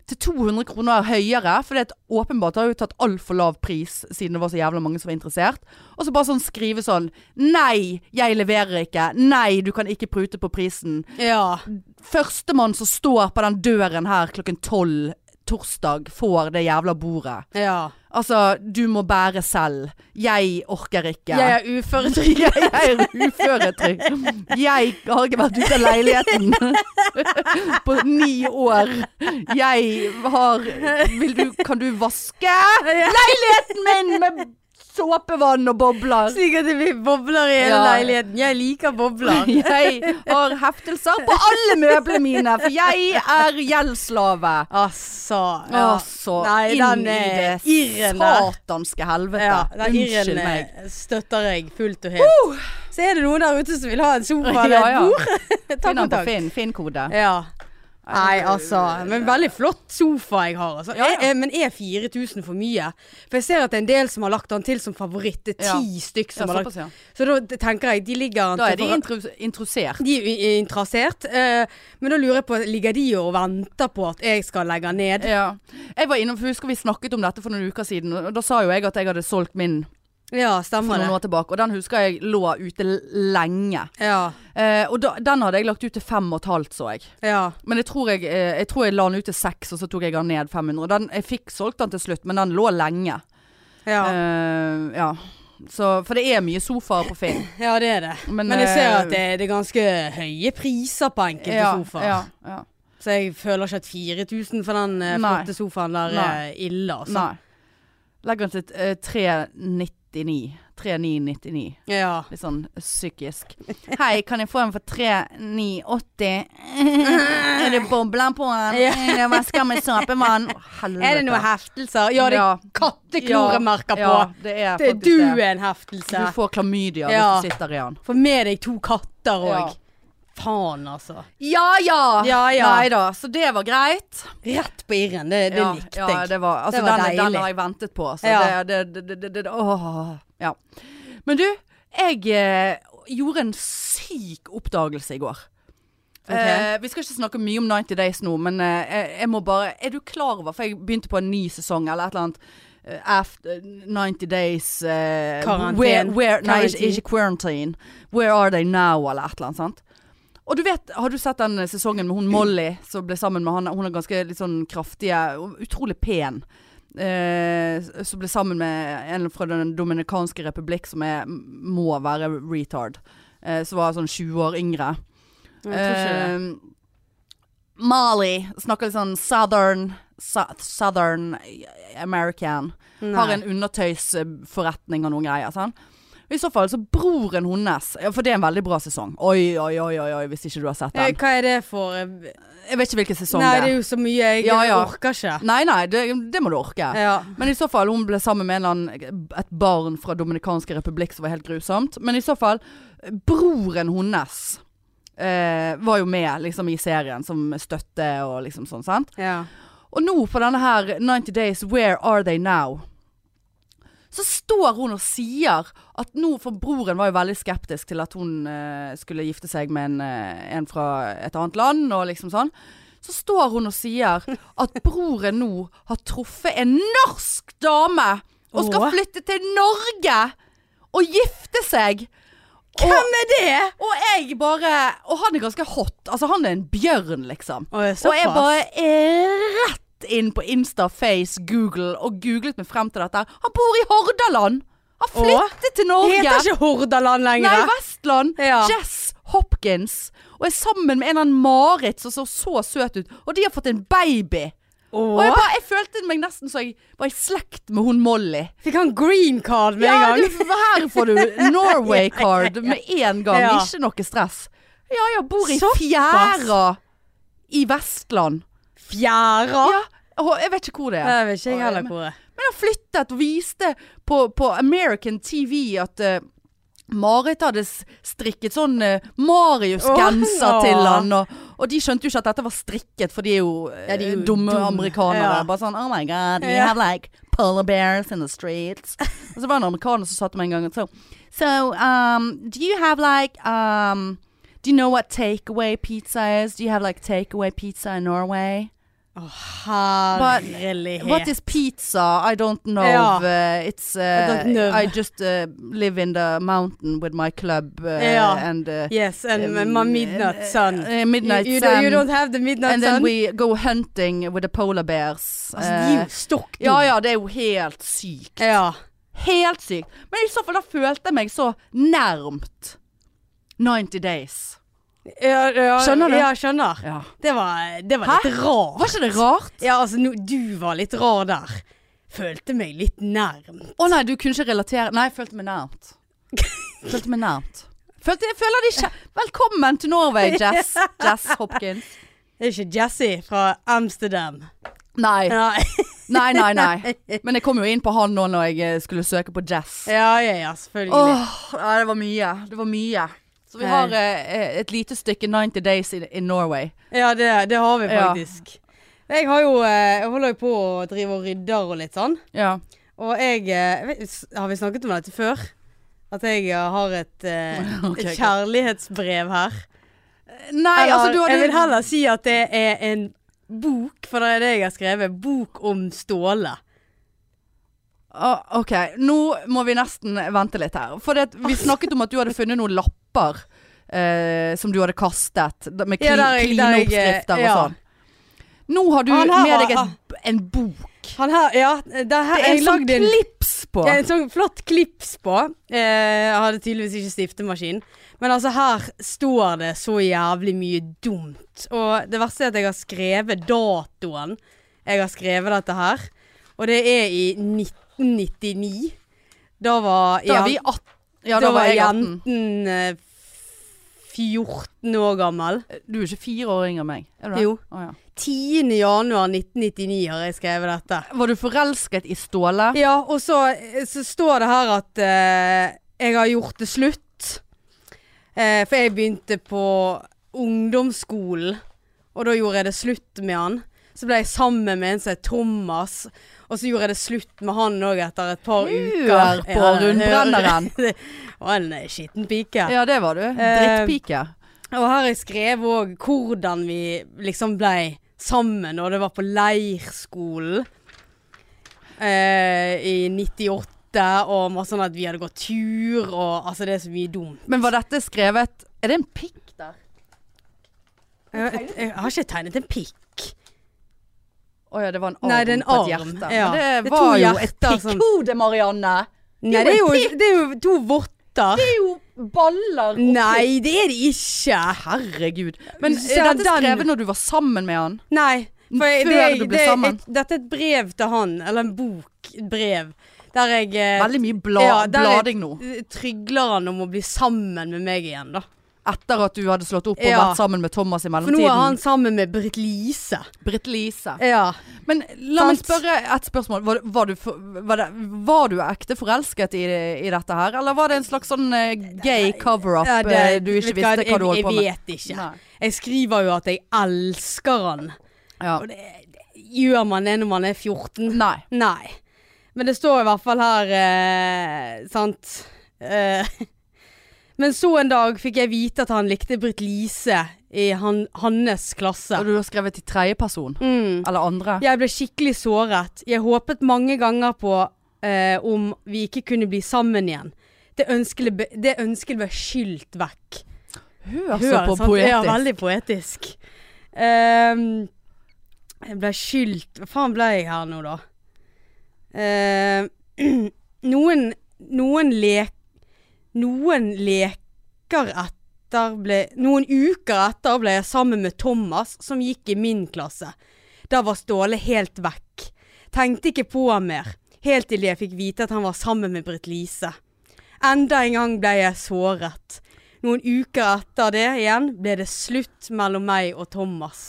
Speaker 1: til 200 kroner høyere. For det er et- åpenbart har jo tatt altfor lav pris, siden det var så jævla mange som var interessert. Og så bare sånn skrive sånn, nei, jeg leverer ikke, nei, du kan ikke prute på prisen.
Speaker 2: Ja.
Speaker 1: Førstemann som står på den døren her klokken 12 torsdag får det jævla bordet.
Speaker 2: ja.
Speaker 1: Altså, du må bære selv. Jeg orker ikke.
Speaker 2: Jeg er uføretrygd.
Speaker 1: Jeg er uføretrygd. Jeg har ikke vært ute av leiligheten på ni år. Jeg har vil du, Kan du vaske leiligheten min med såpevann og bobler?
Speaker 2: Slik at det blir bobler i hele
Speaker 1: Ja.
Speaker 2: leiligheten. Jeg liker bobler.
Speaker 1: Jeg har heftelser på alle møblene mine, for jeg er gjeldsslave.
Speaker 2: Altså. Ja.
Speaker 1: Altså,
Speaker 2: Nei,
Speaker 1: inn
Speaker 2: den
Speaker 1: i
Speaker 2: er
Speaker 1: det
Speaker 2: irren der.
Speaker 1: satanske helvete.
Speaker 2: Ja, den irren
Speaker 1: Unnskyld meg.
Speaker 2: eh, støtter jeg fullt og helt. Så er det noen der ute som vil ha en sofa eller
Speaker 1: Ja,
Speaker 2: et
Speaker 1: ja.
Speaker 2: bord. Ta
Speaker 1: Finn den på
Speaker 2: kontakt.
Speaker 1: Finn. Finn-kode.
Speaker 2: Ja. Nei, altså. Men veldig flott sofa jeg har. Altså.
Speaker 1: Ja, ja.
Speaker 2: Er- er- men er 4000 for mye? For jeg ser at det er en del som har lagt den til som favoritt. Det er
Speaker 1: Ja.
Speaker 2: ti stykk
Speaker 1: Ja,
Speaker 2: som har
Speaker 1: såpass,
Speaker 2: lagt
Speaker 1: ja.
Speaker 2: Så da tenker jeg de ligger an
Speaker 1: Da er
Speaker 2: til
Speaker 1: de
Speaker 2: for-
Speaker 1: intru- intrusert.
Speaker 2: De er jo interessert, eh, men da lurer jeg på, ligger de og venter på at jeg skal legge ned?
Speaker 1: Ja. Jeg var innom, for husker vi snakket om dette for noen uker siden, og da sa jo jeg at jeg hadde solgt min
Speaker 2: Ja,
Speaker 1: for
Speaker 2: stemmer
Speaker 1: noen
Speaker 2: det.
Speaker 1: år tilbake, og den husker jeg lå ute l- lenge.
Speaker 2: Ja,
Speaker 1: Eh, og da, den hadde jeg lagt ut til fem og et halvt, så jeg.
Speaker 2: ja.
Speaker 1: Men jeg tror jeg, eh, jeg tror jeg la den ut til seks, og så tok jeg den ned 500. Og Den, jeg fikk solgt den til slutt, men den lå lenge.
Speaker 2: Ja,
Speaker 1: Eh, ja. Så, for det er mye sofaer på Finn.
Speaker 2: ja det er det.
Speaker 1: Men,
Speaker 2: Men, jeg ser
Speaker 1: eh,
Speaker 2: at det, det er ganske høye priser på enkelte sofaer.
Speaker 1: ja, ja.
Speaker 2: Så jeg føler ikke at 4000 for den eh,
Speaker 1: Nei.
Speaker 2: flotte sofaen der
Speaker 1: Nei.
Speaker 2: er ille, altså.
Speaker 1: Nei. Legger den til eh, 399. 3999.
Speaker 2: Ja.
Speaker 1: Litt sånn psykisk. Hei, kan jeg få en for 3980? er det bobler på den?
Speaker 2: Ja.
Speaker 1: Jeg vasker med såpevann.
Speaker 2: Er det noen heftelser? Ja, det er kattekloremerker på.
Speaker 1: Ja, det er
Speaker 2: det er
Speaker 1: faktisk
Speaker 2: du
Speaker 1: det.
Speaker 2: er en heftelse.
Speaker 1: Du får klamydia
Speaker 2: Ja.
Speaker 1: hvis du sitter i den.
Speaker 2: Få med deg to katter
Speaker 1: Ja.
Speaker 2: òg. Faen, altså.
Speaker 1: Ja ja!
Speaker 2: Ja, ja.
Speaker 1: Nei da, så det var greit.
Speaker 2: Rett på irren. Det, det
Speaker 1: ja,
Speaker 2: likte
Speaker 1: ja,
Speaker 2: jeg.
Speaker 1: det var, altså,
Speaker 2: Det var
Speaker 1: den, den
Speaker 2: deilig.
Speaker 1: har jeg ventet på. Så
Speaker 2: Ja.
Speaker 1: det, det, det, det, det, åh, ja. Men du, jeg eh, gjorde en syk oppdagelse i går.
Speaker 2: Ok.
Speaker 1: Eh, vi skal ikke snakke mye om 90 Days nå, men eh, jeg, jeg må bare Er du klar over For jeg begynte på en ny sesong eller et eller annet. eh, after 90 Days eh,
Speaker 2: Karantene.
Speaker 1: Where, where, nei, ikke,
Speaker 2: Quarantine.
Speaker 1: ikke quarantine. Where are they now? Eller et eller annet. sant? Og du vet, Har du sett den eh, sesongen
Speaker 2: Mm.
Speaker 1: med hun Molly som ble sammen med han Hun er ganske litt sånn kraftige og Utrolig pen. eh, som ble sammen med en fra Den dominikanske republikk som er, må være retard. eh, som var sånn 20 år yngre. Ehm,
Speaker 2: Jeg tror ikke det.
Speaker 1: Mali snakker litt sånn southern, sa-
Speaker 2: Eh,
Speaker 1: southern American. Har en undertøysforretning og noen greier. Sånn. I så fall så broren hennes ja, For det er en veldig bra sesong. Oi, oi, oi, oi, oi hvis ikke du har sett
Speaker 2: Eh,
Speaker 1: den.
Speaker 2: Hva er det for eh,
Speaker 1: Jeg vet ikke hvilken sesong
Speaker 2: Nei, det
Speaker 1: det
Speaker 2: er
Speaker 1: er.
Speaker 2: jo så mye jeg
Speaker 1: Ja, ja.
Speaker 2: orker ikke.
Speaker 1: Nei, nei, det, det må du orke.
Speaker 2: Ja.
Speaker 1: Men i så fall, hun ble sammen med en eller annen, et barn fra Dominikanske republikk som var helt grusomt. Men i så fall, broren hennes eh, var jo med liksom, i serien som støtte og liksom sånn, sant?
Speaker 2: ja.
Speaker 1: Og nå på denne her 90 Days Where Are They Now? Så står hun og sier at nå For broren var jo veldig skeptisk til at hun eh, skulle gifte seg med en, eh, en fra et annet land og liksom sånn. Så står hun og sier at broren nå har truffet en norsk dame og skal
Speaker 2: Åh.
Speaker 1: flytte til Norge og gifte seg.
Speaker 2: Hvem er det?
Speaker 1: Og jeg bare Og han er ganske hot. Altså, han er en bjørn, liksom.
Speaker 2: Å, jeg er
Speaker 1: Og jeg
Speaker 2: såpass.
Speaker 1: bare eh, rett inn på Insta, Face, Google og googlet meg frem til dette. Han bor i Hordaland! Han flyttet til Norge!
Speaker 2: Heter ikke Hordaland lenger.
Speaker 1: Nei, Vestland!
Speaker 2: Ja.
Speaker 1: Jess Hopkins. Og er sammen med en av Marit som så så søt ut. Og de har fått en baby. Og jeg,
Speaker 2: Åh,
Speaker 1: bare, jeg følte meg nesten så jeg var i slekt med hun Molly.
Speaker 2: Fikk han green card med
Speaker 1: Ja,
Speaker 2: en gang?
Speaker 1: du, her får du Norway card med en gang.
Speaker 2: Ja.
Speaker 1: Ikke noe stress. Ja ja, bor i
Speaker 2: Såpass.
Speaker 1: fjæra i Vestland.
Speaker 2: Fjæra?
Speaker 1: Ja, og jeg vet ikke hvor det er.
Speaker 2: Jeg vet ikke jeg heller hvor det er.
Speaker 1: Men han flyttet og viste på, på American TV at eh, Marit hadde s- strikket sånn eh, Marius-genser
Speaker 2: Åh.
Speaker 1: til han. Og, og de skjønte jo ikke at dette var strikket, for de er jo, eh,
Speaker 2: Ja, de er jo
Speaker 1: dumme
Speaker 2: dumme.
Speaker 1: amerikanere.
Speaker 2: Ja.
Speaker 1: Bare sånn Oh my God, you
Speaker 2: Ja.
Speaker 1: have like polar bears in the streets. og så var det en amerikaner som sa til meg en gang så, So, um, do you have like um, Do you know what takeaway pizza is? Do you have like takeaway pizza in Norway?
Speaker 2: Å,
Speaker 1: But
Speaker 2: herlighet.
Speaker 1: What is pizza? I don't know.
Speaker 2: Ja.
Speaker 1: Uh, it's uh, I,
Speaker 2: don't know.
Speaker 1: just uh, live in the mountain with my club uh,
Speaker 2: Ja.
Speaker 1: and uh,
Speaker 2: Yes, and
Speaker 1: um,
Speaker 2: my midnight sun.
Speaker 1: uh, midnight
Speaker 2: you, you,
Speaker 1: sun.
Speaker 2: don't- you don't have the midnight
Speaker 1: and then
Speaker 2: sun?
Speaker 1: we go hunting with the polar bears.
Speaker 2: altså, de er
Speaker 1: Uh,
Speaker 2: jo stokk
Speaker 1: ja ja, det er jo helt sykt.
Speaker 2: ja.
Speaker 1: Helt sykt. Men i så fall da følte jeg meg så nærmt 90 Days.
Speaker 2: Ja, ja,
Speaker 1: Skjønner du?
Speaker 2: Ja, skjønner.
Speaker 1: Ja.
Speaker 2: Det var, det var
Speaker 1: Hæ?
Speaker 2: litt rart.
Speaker 1: Var ikke det rart?
Speaker 2: Ja, altså, no, du var litt rar der. Følte meg litt nærm.
Speaker 1: Å nei, du kunne ikke relatere Nei, jeg følte meg nærmt. Følte meg nærmt. Følte, jeg føler de ikke Velkommen til Norway, Jess. Jess Hopkins.
Speaker 2: Det er ikke Jesse fra Amsterdam.
Speaker 1: Nei,
Speaker 2: Nei.
Speaker 1: nei, nei. nei. Men jeg kom jo inn på han nå når jeg eh, skulle søke på Jess.
Speaker 2: Ja, ja, ja, selvfølgelig.
Speaker 1: Åh, ja, det var mye. Det var mye. Så vi har eh, et lite stykke 90 Days in, in Norway.
Speaker 2: Ja, det, det har vi
Speaker 1: Ja.
Speaker 2: faktisk. Jeg har jo, eh, jeg holder jo på å drive og rydder og litt sånn.
Speaker 1: Ja.
Speaker 2: Og jeg eh, vet- s- Har vi snakket om dette før? At jeg eh, har et, eh,
Speaker 1: Ok,
Speaker 2: et
Speaker 1: greit.
Speaker 2: kjærlighetsbrev her.
Speaker 1: Nei,
Speaker 2: Eller,
Speaker 1: altså du hadde
Speaker 2: Jeg vil heller si at det er en bok, for det er det jeg har skrevet. Bok om Ståle.
Speaker 1: Å, Ah, OK, nå må vi nesten vente litt her. For det, at vi snakket om at du hadde funnet noen lapper eh, som du hadde kastet, da- med
Speaker 2: Ja,
Speaker 1: kli,
Speaker 2: der jeg-
Speaker 1: kline
Speaker 2: der jeg, eh,
Speaker 1: oppskrifter og
Speaker 2: ja. Ah,
Speaker 1: sånn. Nå har du
Speaker 2: Han her
Speaker 1: med
Speaker 2: har-
Speaker 1: deg et, en bok.
Speaker 2: Han her, ja, det her,
Speaker 1: Det er en
Speaker 2: jeg
Speaker 1: sånn
Speaker 2: lagde en,
Speaker 1: klips på.
Speaker 2: en sånn flott klips på. Eh, jeg hadde tydeligvis ikke stiftemaskin. Men altså, her står det så jævlig mye dumt. Og det verste er at jeg har skrevet datoen jeg har skrevet dette her. Og det er i 1999. Da var
Speaker 1: Da
Speaker 2: Jan-
Speaker 1: var vi 18. Ja,
Speaker 2: da
Speaker 1: da
Speaker 2: var
Speaker 1: var jeg 18.
Speaker 2: jenten eh, 14 år gammel.
Speaker 1: Du er ikke fire år yngre enn meg, er du det?
Speaker 2: Jo.
Speaker 1: Å, ja.
Speaker 2: 10. januar 1999 har jeg skrevet dette.
Speaker 1: Var du forelsket i Ståle?
Speaker 2: Ja, og så, så står det her at eh, jeg har gjort det slutt. Eh, for jeg begynte på ungdomsskolen, og da gjorde jeg det slutt med han. Så ble jeg sammen med en som het Thomas, og så gjorde jeg det slutt med han òg etter et par
Speaker 1: Hør
Speaker 2: uker.
Speaker 1: på rundbrenneren.
Speaker 2: Og en eh, skitten pike.
Speaker 1: Ja, det var du.
Speaker 2: Eh,
Speaker 1: Drittpike.
Speaker 2: Og her har jeg skrevet òg hvordan vi liksom ble sammen, og det var på leirskolen eh, i 98. Og masse sånn at vi hadde gått tur, og altså det er så mye dumt.
Speaker 1: Men var dette skrevet Er det en pikk der?
Speaker 2: Jeg, jeg har ikke tegnet en pikk.
Speaker 1: Å ja, det var en arm
Speaker 2: Nei, det er en
Speaker 1: på et
Speaker 2: arm,
Speaker 1: hjerte.
Speaker 2: ja.
Speaker 1: Men
Speaker 2: Det
Speaker 1: det,
Speaker 2: er
Speaker 1: var
Speaker 2: to
Speaker 1: jo et
Speaker 2: hjerter som-
Speaker 1: pikkhode, Marianne!
Speaker 2: Nei, det er jo, det er jo to votter.
Speaker 1: Det er jo baller oppi
Speaker 2: Nei, det er det ikke.
Speaker 1: Herregud. Men
Speaker 2: Så
Speaker 1: er dette
Speaker 2: den-
Speaker 1: skrevet når du var sammen med han?
Speaker 2: Nei. For jeg,
Speaker 1: Før
Speaker 2: det,
Speaker 1: du ble
Speaker 2: det,
Speaker 1: sammen.
Speaker 2: dette er et brev til han, eller en bok, et brev Der jeg eh,
Speaker 1: Veldig mye bla
Speaker 2: Ja, der er-
Speaker 1: blading nå.
Speaker 2: trygler han om å bli sammen med meg igjen, da.
Speaker 1: Etter at du hadde slått opp og
Speaker 2: Ja.
Speaker 1: vært sammen med Thomas i
Speaker 2: For nå er han
Speaker 1: mellomtiden.
Speaker 2: sammen med Britt Lise.
Speaker 1: Britt Lise.
Speaker 2: Ja.
Speaker 1: Men la meg
Speaker 2: Sant.
Speaker 1: spørre et spørsmål. Var, du- var, du, for- var, det, var du ekte forelsket i, i dette her, eller var det en slags sånn eh, gay cover-up
Speaker 2: Ja, det-
Speaker 1: eh, du ikke
Speaker 2: vet hva,
Speaker 1: visste hva du holdt på med?
Speaker 2: Jeg, jeg vet ikke.
Speaker 1: Nei.
Speaker 2: Jeg skriver jo at jeg elsker han.
Speaker 1: Ja.
Speaker 2: Og det, det gjør man det når man er 14.
Speaker 1: Nei.
Speaker 2: Nei. Men det står i hvert fall her, eh, sant eh, Men så en dag fikk jeg vite at han likte Britt Lise i han, hans klasse.
Speaker 1: Og du har skrevet i tredjeperson?
Speaker 2: Mm.
Speaker 1: Eller andre?
Speaker 2: Jeg ble skikkelig såret. Jeg håpet mange ganger på eh, om vi ikke kunne bli sammen iggen. Det ønsket ble, det ønsket ble skylt vekk.
Speaker 1: Hør så
Speaker 2: Hør,
Speaker 1: Altså på
Speaker 2: sant? sånn, Ja,
Speaker 1: poetisk.
Speaker 2: veldig poetisk. Ehm, jeg ble skylt Hva faen ble jeg her nå, da? Ehm, noen noen lek... Noen leker etter ble Noen uker etter ble jeg sammen med Thomas, som gikk i min klasse. Da var Ståle helt vekk. Tenkte ikke på han mer. Helt til jeg fikk vite at han var sammen med Britt Lise. Enda en gang ble jeg såret. Noen uker etter det igjen ble det slutt mellom meg og Thomas.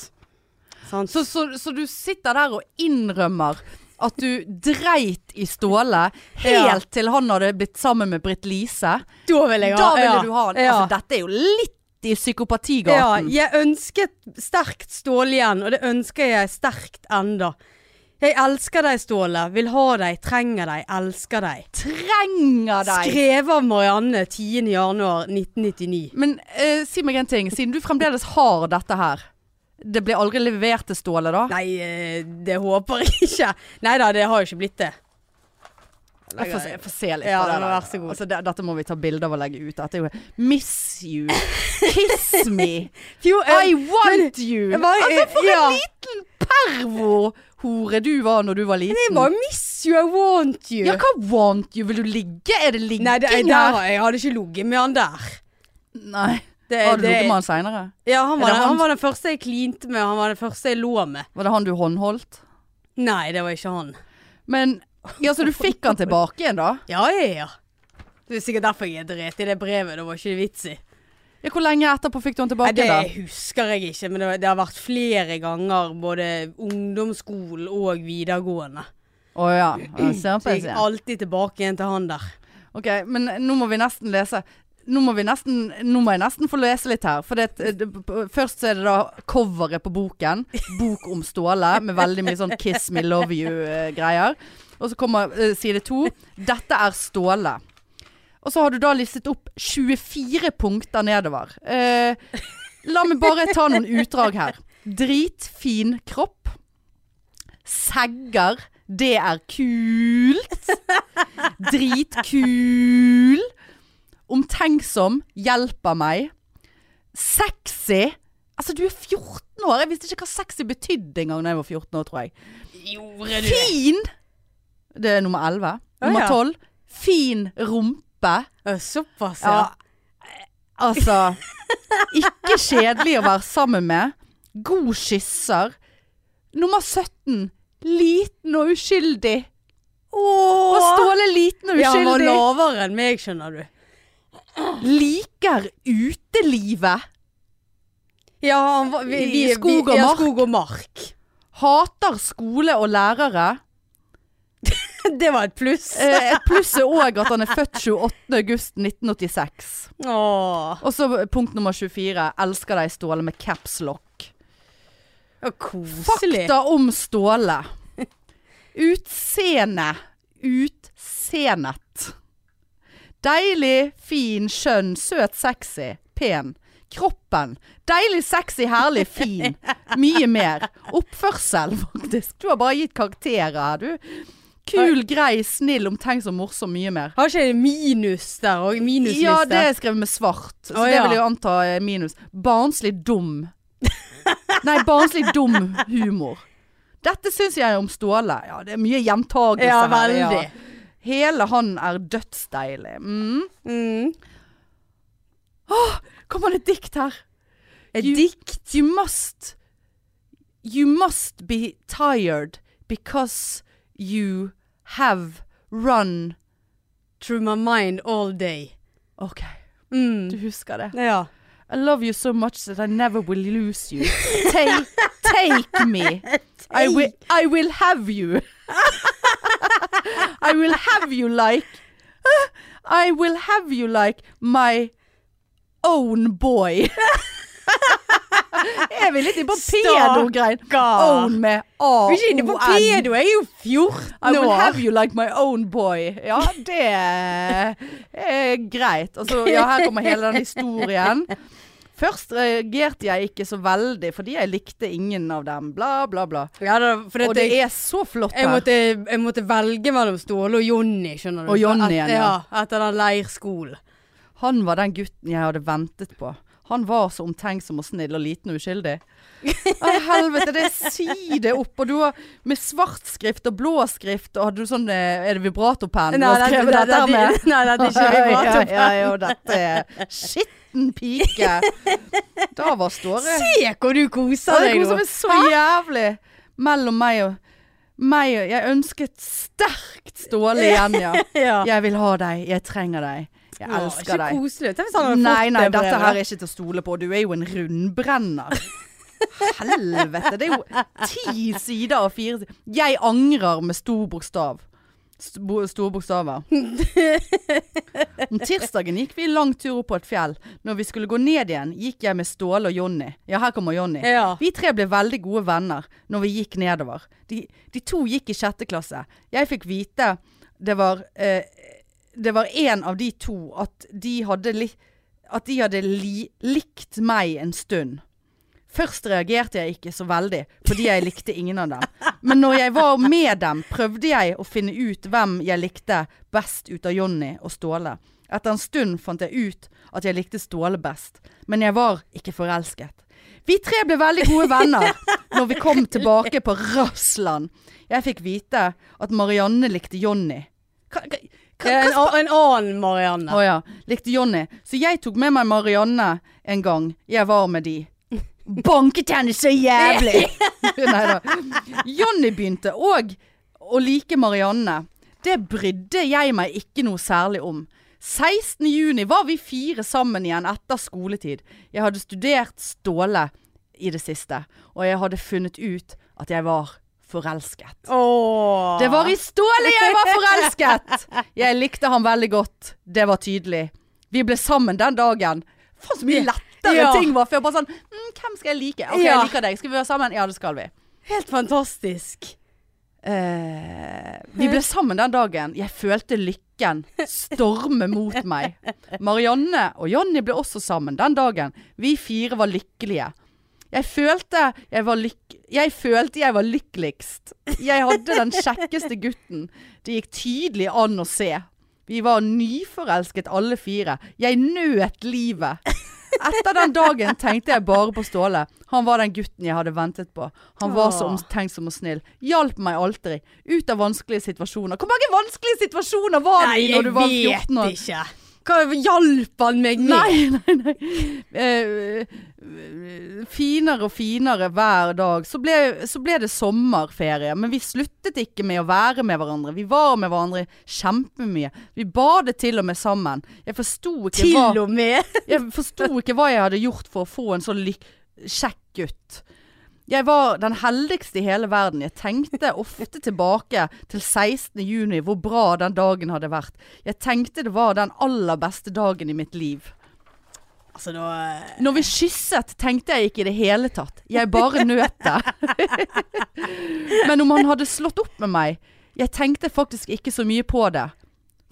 Speaker 2: Sånn, Sant?
Speaker 1: Så, så, så du sitter der og innrømmer at du dreit i Ståle helt
Speaker 2: Ja.
Speaker 1: til han hadde blitt sammen med Britt Lise.
Speaker 2: da ville
Speaker 1: Da ville
Speaker 2: ja,
Speaker 1: du ha han.
Speaker 2: Ja.
Speaker 1: Altså, dette er jo litt i
Speaker 2: ja,
Speaker 1: psykopatigaten.
Speaker 2: jeg ønsket sterkt Ståle igjen, og det ønsker jeg sterkt enda. Jeg elsker deg, Ståle. Vil ha deg, trenger deg, elsker deg.
Speaker 1: Trenger deg!
Speaker 2: Skrevet av Marianne 10. januar 1999.
Speaker 1: Men eh, si meg en ting, siden du fremdeles har dette her. Det ble aldri levert til Ståle, da?
Speaker 2: Nei, eh, det håper jeg ikke. Nei da, det har jo ikke blitt det.
Speaker 1: Jeg får, se- jeg får se litt
Speaker 2: Ja,
Speaker 1: på det.
Speaker 2: men
Speaker 1: der.
Speaker 2: vær så god.
Speaker 1: Altså, det, dette må vi ta bilde av og legge ut. Dette er jo Miss you! Kiss me!
Speaker 2: Jo,
Speaker 1: I
Speaker 2: eh,
Speaker 1: want you!
Speaker 2: jeg var-
Speaker 1: altså, for
Speaker 2: ja.
Speaker 1: en liten pervo-hore du var når du var liten.
Speaker 2: jeg bare miss you, I want you.
Speaker 1: Ja, hva want you? Vil du ligge? Er det ligging
Speaker 2: Nei, det, jeg,
Speaker 1: her?
Speaker 2: der, jeg hadde ikke ligget med han der.
Speaker 1: Nei.
Speaker 2: Det,
Speaker 1: Har du
Speaker 2: Eh, det-
Speaker 1: ligget med han seinere?
Speaker 2: Ja, han var,
Speaker 1: Er det
Speaker 2: den,
Speaker 1: han?
Speaker 2: han var den første jeg klinte med, og han var den første jeg lå med.
Speaker 1: Var det han du håndholdt?
Speaker 2: Nei, det var ikke han.
Speaker 1: Men Ja, så du fikk han tilbake igjen, da?
Speaker 2: Ja, ja, ja. Det er sikkert derfor jeg dret i det brevet, det var ikke vits i.
Speaker 1: Ja, hvor lenge etterpå fikk du han
Speaker 2: Nei,
Speaker 1: tilbake?
Speaker 2: det
Speaker 1: da?
Speaker 2: husker jeg ikke, men det, var- det har vært flere ganger, både ungdomsskolen og videregående.
Speaker 1: Å ja. ja. Ser
Speaker 2: Så
Speaker 1: på
Speaker 2: jeg gikk
Speaker 1: igjen.
Speaker 2: alltid tilbake igjen til han der.
Speaker 1: Ok, men nå må vi nesten lese. Nå må, vi nesten, nå må jeg nesten få lese litt her. For det, eh, det, først så er det da coveret på boken. 'Bok om Ståle', med veldig mye sånn 'Kiss me, love you'-greier. Og så kommer eh, side to. 'Dette er Ståle'. Og så har du da listet opp 24 punkter nedover. Eh, la meg bare ta noen utdrag her. Dritfin kropp. Segger. Det er kult. Dritkul. Omtenksom. Hjelper meg. Sexy. Altså, du er 14 år. Jeg visste ikke hva sexy betydde engang da jeg var 14 år, tror jeg.
Speaker 2: Gjorde
Speaker 1: Fin! Det er nummer 11.
Speaker 2: Å,
Speaker 1: Nummer
Speaker 2: ja.
Speaker 1: 12. Fin rumpe.
Speaker 2: Såpass,
Speaker 1: Ja.
Speaker 2: ja.
Speaker 1: Altså Ikke kjedelig å være sammen med. God kysser. Nummer 17. Liten og uskyldig. Og
Speaker 2: Åh!
Speaker 1: Ståle liten og
Speaker 2: Ja, han var
Speaker 1: uskyldig.
Speaker 2: lavere enn meg, skjønner du.
Speaker 1: Liker utelivet.
Speaker 2: Ja, han var, vi,
Speaker 1: I
Speaker 2: vi, vi,
Speaker 1: skog og
Speaker 2: ja,
Speaker 1: mark.
Speaker 2: skog og mark.
Speaker 1: Hater skole og lærere.
Speaker 2: Det var et pluss.
Speaker 1: Eh, Et pluss er òg at han er født 28.8.1986.
Speaker 2: Åh,
Speaker 1: Og så punkt nummer 24. Elsker deg, Ståle, med caps lock.
Speaker 2: ja, koselig.
Speaker 1: Fakta om Ståle. Utseende. Utseendet. Deilig, fin, skjønn, søt, sexy, pen. Kroppen. Deilig, sexy, herlig, fin. Mye mer. Oppførsel, faktisk. Du har bare gitt karakterer her, du. Kul, grei, snill, omtenksom, morsom, mye mer.
Speaker 2: Har ikke det minus der òg? Minusliste?
Speaker 1: Ja, det er sånn skrevet med svart, så
Speaker 2: Å,
Speaker 1: det
Speaker 2: ja.
Speaker 1: vil jeg anta er minus. Barnslig dum. Nei, barnslig dum humor. Dette syns jeg om Ståle. Ja, det er mye gjentagelse
Speaker 2: ja,
Speaker 1: her.
Speaker 2: veldig.
Speaker 1: ja. Hele han er dødsdeilig. Mm.
Speaker 2: Mm.
Speaker 1: Kommer det et dikt her?
Speaker 2: Et
Speaker 1: You-
Speaker 2: dikt?
Speaker 1: You must You must be tired because you have Run.
Speaker 2: Through my mind all day.
Speaker 1: OK,
Speaker 2: Mm.
Speaker 1: du husker det.
Speaker 2: Ja.
Speaker 1: I love you so much that I never will lose you. Take, take me. I will, I will have you. I will have you like I will have you like my own boy. er vi litt inne på pedo-greien?
Speaker 2: Stakkar.
Speaker 1: Own med A-O-N.
Speaker 2: Vi er ikke inne på pedo, jeg er jo 14
Speaker 1: I will
Speaker 2: år.
Speaker 1: have you like my own boy. Ja, det er greit. Altså, ja, her kommer hele den historien. Først reagerte jeg ikke så veldig, fordi jeg likte ingen av dem. Bla, bla, bla.
Speaker 2: Ja, da, for
Speaker 1: Og det
Speaker 2: jeg,
Speaker 1: er så flott
Speaker 2: jeg,
Speaker 1: her.
Speaker 2: måtte, jeg måtte velge mellom Ståle og Jonny, skjønner du.
Speaker 1: Og Jonny
Speaker 2: Et-
Speaker 1: igjen, ja.
Speaker 2: ja. Etter den leirskolen.
Speaker 1: Han var den gutten jeg hadde ventet på. Han var så omtenksom og snill og liten og uskyldig. Å, helvete, det er side opp, og du har med svart skrift og blå skrift, og hadde du sånn eh, Er det vibratopenn du har skrevet dette her med?
Speaker 2: nei, dette er ikke vi prater om.
Speaker 1: Ja, ja, ja, og dette er skitten pike. Da var Ståre
Speaker 2: Se hvor du
Speaker 1: Ja,
Speaker 2: koser
Speaker 1: Det
Speaker 2: deg
Speaker 1: kom som
Speaker 2: nå.
Speaker 1: en så jævlig mellom meg og meg og Jeg ønsket sterkt Ståle igjen, ja.
Speaker 2: Ja.
Speaker 1: Jeg vil ha deg, jeg trenger deg, jeg elsker
Speaker 2: Ikke
Speaker 1: deg.
Speaker 2: koselig. Tenk hvis han hadde
Speaker 1: Nei,
Speaker 2: fått
Speaker 1: nei,
Speaker 2: det
Speaker 1: dette
Speaker 2: brevet.
Speaker 1: her er ikke til å stole på. Du er jo en rundbrenner. Helvete. Det er jo ti sider og fire sider. Jeg angrer med stor bokstav. St- bo- Store bokstaver. Om tirsdagen gikk vi lang tur opp på et fjell. Når vi skulle gå ned igjen, gikk jeg med Ståle og Jonny. Ja, her kommer Jonny.
Speaker 2: Ja.
Speaker 1: Vi tre ble veldig gode venner når vi gikk nedover. De, de to gikk i sjette klasse. Jeg fikk vite det var eh, Det var en av de to at de hadde, li, at de hadde li, likt meg en stund. Først reagerte jeg ikke så veldig, fordi jeg likte ingen av dem. Men når jeg var med dem, prøvde jeg å finne ut hvem jeg likte best ut av Jonny og Ståle. Etter en stund fant jeg ut at jeg likte Ståle best, men jeg var ikke forelsket. Vi tre ble veldig gode venner når vi kom tilbake på Rassland. Jeg fikk vite at Marianne likte Jonny. Hva, hva,
Speaker 2: Det
Speaker 1: hva,
Speaker 2: er en, a- en annen Marianne.
Speaker 1: å ja. Likte Jonny. Så jeg tok med meg Marianne en gang jeg var med de. Banket henne så jævlig! Neida. Jonny begynte òg å like Marianne. Det brydde jeg meg ikke noe særlig om. 16. juni var vi fire sammen igjen etter skoletid. Jeg hadde studert Ståle i det siste, og jeg hadde funnet ut at jeg var forelsket.
Speaker 2: Åh.
Speaker 1: Det var i Ståle jeg var forelsket! Jeg likte han veldig godt. Det var tydelig. Vi ble sammen den dagen. Faen så mye lettere
Speaker 2: Ja.
Speaker 1: ting var før. Bare sånn mm, Hvem skal jeg like? OK,
Speaker 2: Ja.
Speaker 1: jeg liker deg. Skal vi være sammen? Ja, det skal vi.
Speaker 2: helt fantastisk.
Speaker 1: Eh, vi ble sammen den dagen. Jeg følte lykken storme mot meg. Marianne og Jonny ble også sammen den dagen. Vi fire var lykkelige. Jeg følte jeg var, lyk jeg følte jeg var lykkeligst. Jeg hadde den kjekkeste gutten. Det gikk tydelig an å se. Vi var nyforelsket alle fire. Jeg nøt livet. Etter den dagen tenkte jeg bare på Ståle. Han var den gutten jeg hadde ventet på. Han var så
Speaker 2: Åh.
Speaker 1: omtenksom og snill. Hjalp meg alltid ut av vanskelige situasjoner. Hvor mange vanskelige situasjoner var det i når du var 14 år?
Speaker 2: ikke. Hva hjalp han meg med?
Speaker 1: Nei, nei, nei. Eh, finere og finere hver dag. Så ble, så ble det sommerferie, men vi sluttet ikke med å være med hverandre. Vi var med hverandre kjempemye. Vi badet til og med sammen. Jeg forsto ikke
Speaker 2: Til
Speaker 1: hva
Speaker 2: og med.
Speaker 1: jeg forsto ikke hva jeg hadde gjort for å få en så lyk kjekk gutt. Jeg var den heldigste i hele verden. Jeg tenkte ofte tilbake til 16. juni, hvor bra den dagen hadde vært. Jeg tenkte det var den aller beste dagen i mitt liv.
Speaker 2: Altså, da eh,
Speaker 1: Når vi kysset tenkte jeg ikke i det hele tatt. Jeg bare nøt det. Men om han hadde slått opp med meg Jeg tenkte faktisk ikke så mye på det.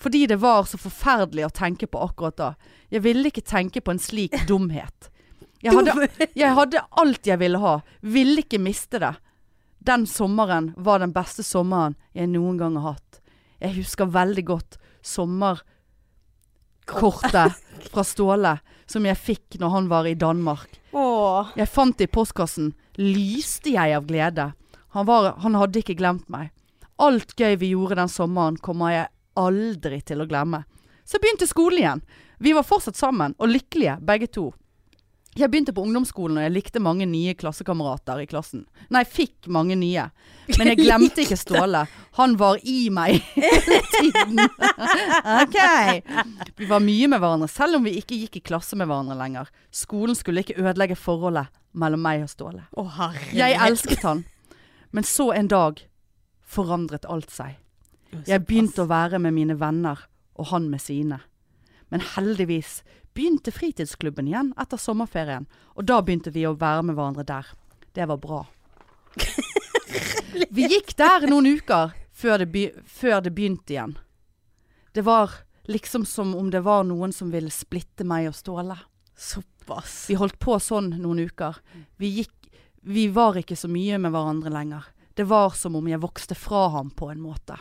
Speaker 1: Fordi det var så forferdelig å tenke på akkurat da. Jeg ville ikke tenke på en slik dumhet. Jeg hadde, jeg hadde alt jeg ville ha. Ville ikke miste det. Den sommeren var den beste sommeren jeg noen gang har hatt. Jeg husker veldig godt sommerkortet fra Ståle som jeg fikk når han var i Danmark.
Speaker 2: Åh.
Speaker 1: Jeg fant det i postkassen. Lyste jeg av glede. Han, var, han hadde ikke glemt meg. Alt gøy vi gjorde den sommeren, kommer jeg aldri til å glemme. Så begynte skolen igjen. Vi var fortsatt sammen, og lykkelige begge to. Jeg begynte på ungdomsskolen og jeg likte mange nye klassekamerater i klassen. Nei, fikk mange nye. Men jeg glemte ikke Ståle. Han var i meg hele tiden. OK. Vi var mye med hverandre, selv om vi ikke gikk i klasse med hverandre lenger. Skolen skulle ikke ødelegge forholdet mellom meg og Ståle.
Speaker 2: Å, herregud.
Speaker 1: Jeg elsket han. Men så en dag forandret alt seg. Jeg begynte å være med mine venner, og han med sine. Men heldigvis begynte fritidsklubben igjen etter sommerferien, og da begynte vi å være med hverandre der. Det var bra. Vi gikk der noen uker før det, be før det begynte igjen. Det var liksom som om det var noen som ville splitte meg og Ståle.
Speaker 2: Såpass.
Speaker 1: Vi holdt på sånn noen uker. Vi gikk Vi var ikke så mye med hverandre lenger. Det var som om jeg vokste fra ham på en måte.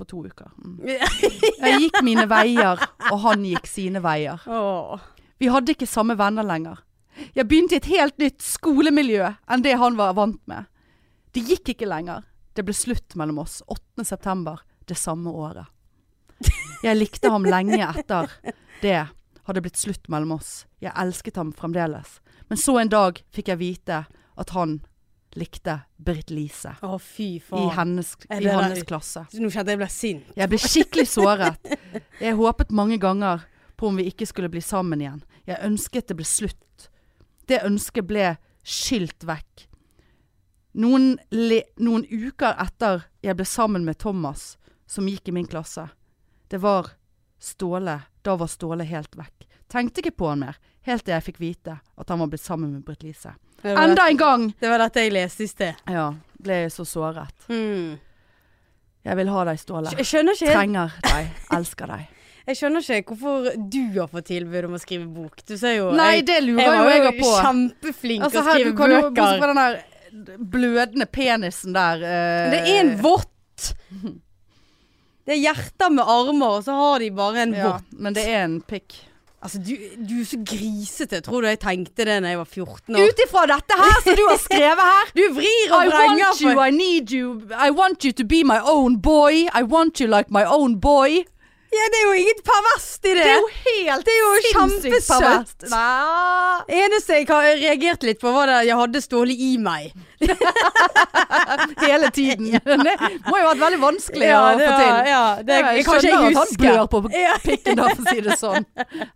Speaker 1: På to uker. Mm. Jeg gikk mine veier, og han gikk sine veier.
Speaker 2: Åh.
Speaker 1: Vi hadde ikke samme venner lenger. Jeg begynte i et helt nytt skolemiljø enn det han var vant med. Det gikk ikke lenger. Det ble slutt mellom oss 8. september det samme året. Jeg likte ham lenge etter det hadde blitt slutt mellom oss. Jeg elsket ham fremdeles. Men så en dag fikk jeg vite at han likte Britt Lise
Speaker 2: Å, fy
Speaker 1: i
Speaker 2: faen.
Speaker 1: hennes,
Speaker 2: Er
Speaker 1: i
Speaker 2: det der-
Speaker 1: hennes klasse.
Speaker 2: Nå kjente jeg ble sint.
Speaker 1: Jeg ble skikkelig såret. Jeg håpet mange ganger på om vi ikke skulle bli sammen igjen. Jeg ønsket det ble slutt. Det ønsket ble skylt vekk. Noen, le noen uker etter jeg ble sammen med Thomas, som gikk i min klasse. Det var Ståle. Da var Ståle helt vekk. Tenkte ikke på han mer, helt til jeg fikk vite at han var blitt sammen med Britt-Lise.
Speaker 2: Det var,
Speaker 1: Enda en gang!
Speaker 2: det var dette jeg leste i sted.
Speaker 1: Ja, ble jeg så såret.
Speaker 2: Hmm.
Speaker 1: Jeg vil ha deg, Ståle.
Speaker 2: Jeg skjønner ikke helt
Speaker 1: Trenger deg. Elsker deg.
Speaker 2: Jeg skjønner ikke hvorfor du har fått tilbud om å skrive bok. Du ser jo
Speaker 1: Nei,
Speaker 2: jeg,
Speaker 1: det lurer
Speaker 2: jeg
Speaker 1: jo
Speaker 2: var
Speaker 1: jeg
Speaker 2: jo
Speaker 1: på.
Speaker 2: kjempeflink
Speaker 1: Altså,
Speaker 2: å
Speaker 1: her,
Speaker 2: skrive
Speaker 1: du kan jo bortsett
Speaker 2: bøker.
Speaker 1: fra den der blødende penisen der eh,
Speaker 2: Det er en vått! Det er hjerter med armer, og så har de bare en
Speaker 1: ja,
Speaker 2: vått.
Speaker 1: Men det er en pikk.
Speaker 2: Altså, du, du er så grisete. Tror du jeg tenkte det da jeg var 14 år?
Speaker 1: Ut ifra dette her som du har skrevet her
Speaker 2: Du vrir
Speaker 1: I
Speaker 2: og vrenger
Speaker 1: want you,
Speaker 2: for
Speaker 1: I need you I want you to be my own boy I want you like my own boy
Speaker 2: ja, Det er jo inget perverst i det!
Speaker 1: Det er jo helt
Speaker 2: Det er jo
Speaker 1: sinnssykt
Speaker 2: kjempesøtt.
Speaker 1: perverst. Nei.
Speaker 2: Det eneste jeg har reagert litt på, var det at jeg hadde Ståle i meg.
Speaker 1: Hele tiden Det må jo ha vært veldig vanskelig å
Speaker 2: det
Speaker 1: få
Speaker 2: var-
Speaker 1: til
Speaker 2: Ja, det, jeg,
Speaker 1: Jeg
Speaker 2: kan ikke
Speaker 1: skjønner
Speaker 2: jeg
Speaker 1: at han
Speaker 2: huske.
Speaker 1: blør på
Speaker 2: Ja,
Speaker 1: pikken da for å si det sånn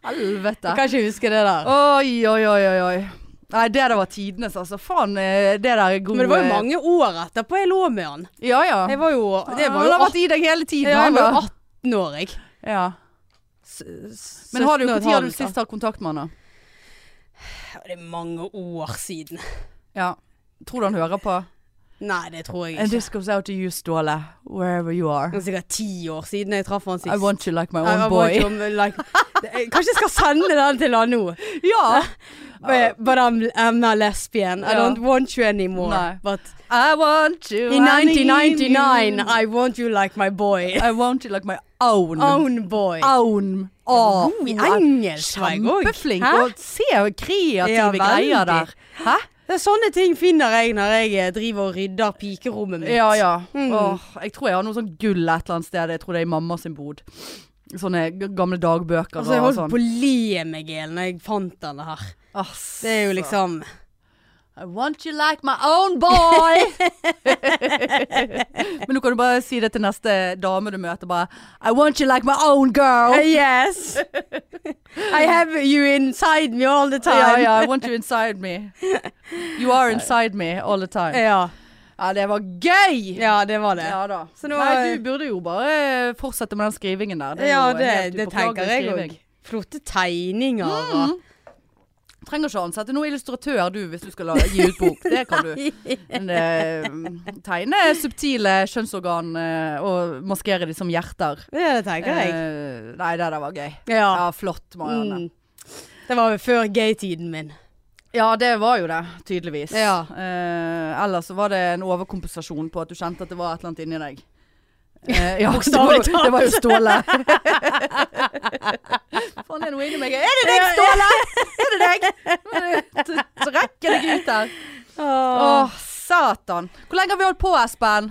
Speaker 1: Helvete
Speaker 2: jeg kan ikke huske det der.
Speaker 1: Oi, oi, oi, oi, oi. Nei, det der var tidenes, altså. Faen, eh, det der er god
Speaker 2: Men det var jo
Speaker 1: eh,
Speaker 2: mange år etterpå jeg lå med han.
Speaker 1: Ja, ja.
Speaker 2: Jeg var jo Det var
Speaker 1: Ah, Han
Speaker 2: jo
Speaker 1: har vært i deg hele tiden.
Speaker 2: Ja, jeg
Speaker 1: han,
Speaker 2: var jo
Speaker 1: da.
Speaker 2: 18 år, jeg.
Speaker 1: Ja. Men har du, hvor tid har du
Speaker 2: altså.
Speaker 1: sist hatt kontakt med han da?
Speaker 2: Det er mange år siden.
Speaker 1: Ja. Tror du han hører på?
Speaker 2: Nei, det tror jeg
Speaker 1: And
Speaker 2: ikke.
Speaker 1: this goes out to you, Ståle. Wherever you
Speaker 2: Det
Speaker 1: are.
Speaker 2: er sikkert ti år siden jeg traff han sist.
Speaker 1: I want you like my
Speaker 2: I- I
Speaker 1: own
Speaker 2: want
Speaker 1: boy.
Speaker 2: you, like, Det- Kanskje jeg skal sende den til han nå.
Speaker 1: ja.
Speaker 2: But, but I'm, I'm a lesbian. I
Speaker 1: Ja.
Speaker 2: don't want you anymore.
Speaker 1: Nei.
Speaker 2: But
Speaker 1: I want you.
Speaker 2: in
Speaker 1: I need
Speaker 2: 1999,
Speaker 1: you.
Speaker 2: I want you like my boy.
Speaker 1: I want you like my own.
Speaker 2: Own boy.
Speaker 1: Ah, Own. Å,
Speaker 2: God i engelsk var jeg òg.
Speaker 1: Kjempeflink.
Speaker 2: Hæ?
Speaker 1: Og se kreative
Speaker 2: Ja, veldig.
Speaker 1: greier der. Hæ?
Speaker 2: Det er sånne ting finner jeg når jeg eh, driver og rydder pikerommet mitt.
Speaker 1: Ja, ja.
Speaker 2: Mm.
Speaker 1: Åh, jeg tror jeg har noe sånn gull et eller annet sted. Jeg tror det er i mamma sin bod. Sånne g- gamle dagbøker
Speaker 2: Altså, jeg
Speaker 1: og
Speaker 2: holdt
Speaker 1: sånn.
Speaker 2: på å le meg i hjel når jeg fant denne her.
Speaker 1: Ass.
Speaker 2: Det er jo liksom
Speaker 1: I want you like my own boy! Men nå kan du bare si det til neste dame du møter. Bare I want you like my own girl!
Speaker 2: eh, Yes! I have you inside me all the
Speaker 1: Ja,
Speaker 2: time.
Speaker 1: ja. I want you inside me. You are inside me all the time.
Speaker 2: Ja,
Speaker 1: Ja, det var gøy!
Speaker 2: ja, det var det.
Speaker 1: Ja da.
Speaker 2: Så nå-
Speaker 1: Nei, du burde jo bare fortsette med den skrivingen der. er
Speaker 2: Ja,
Speaker 1: jo
Speaker 2: det,
Speaker 1: helt
Speaker 2: det
Speaker 1: upåklagelig
Speaker 2: tenker jeg
Speaker 1: skriving.
Speaker 2: òg. Flotte tegninger
Speaker 1: Mm.
Speaker 2: og
Speaker 1: Trenger ikke ansette noen illustratør du hvis du skal la- gi ut bok. Det kan du. Men, eh, tegne subtile kjønnsorgan eh, og maskere de som hjerter.
Speaker 2: Ja, det tenker jeg.
Speaker 1: Eh, nei, det der var gøy.
Speaker 2: Ja.
Speaker 1: Ja, flott, Marianne.
Speaker 2: Mm. Det var jo før gay-tiden min.
Speaker 1: Ja, det var jo det, tydeligvis.
Speaker 2: Ja.
Speaker 1: Eh, ellers så var det en overkompensasjon på at du kjente at det var et eller annet inni deg. Eh, ja, det var,
Speaker 2: Bokstavelig
Speaker 1: jo- det var jo Ståle. Faen, er det noe inni meg? Er det deg, Ståle? Er det deg? T- Trekk deg ut der. Åh,
Speaker 2: Åh.
Speaker 1: satan. Hvor lenge har vi holdt på, Espen?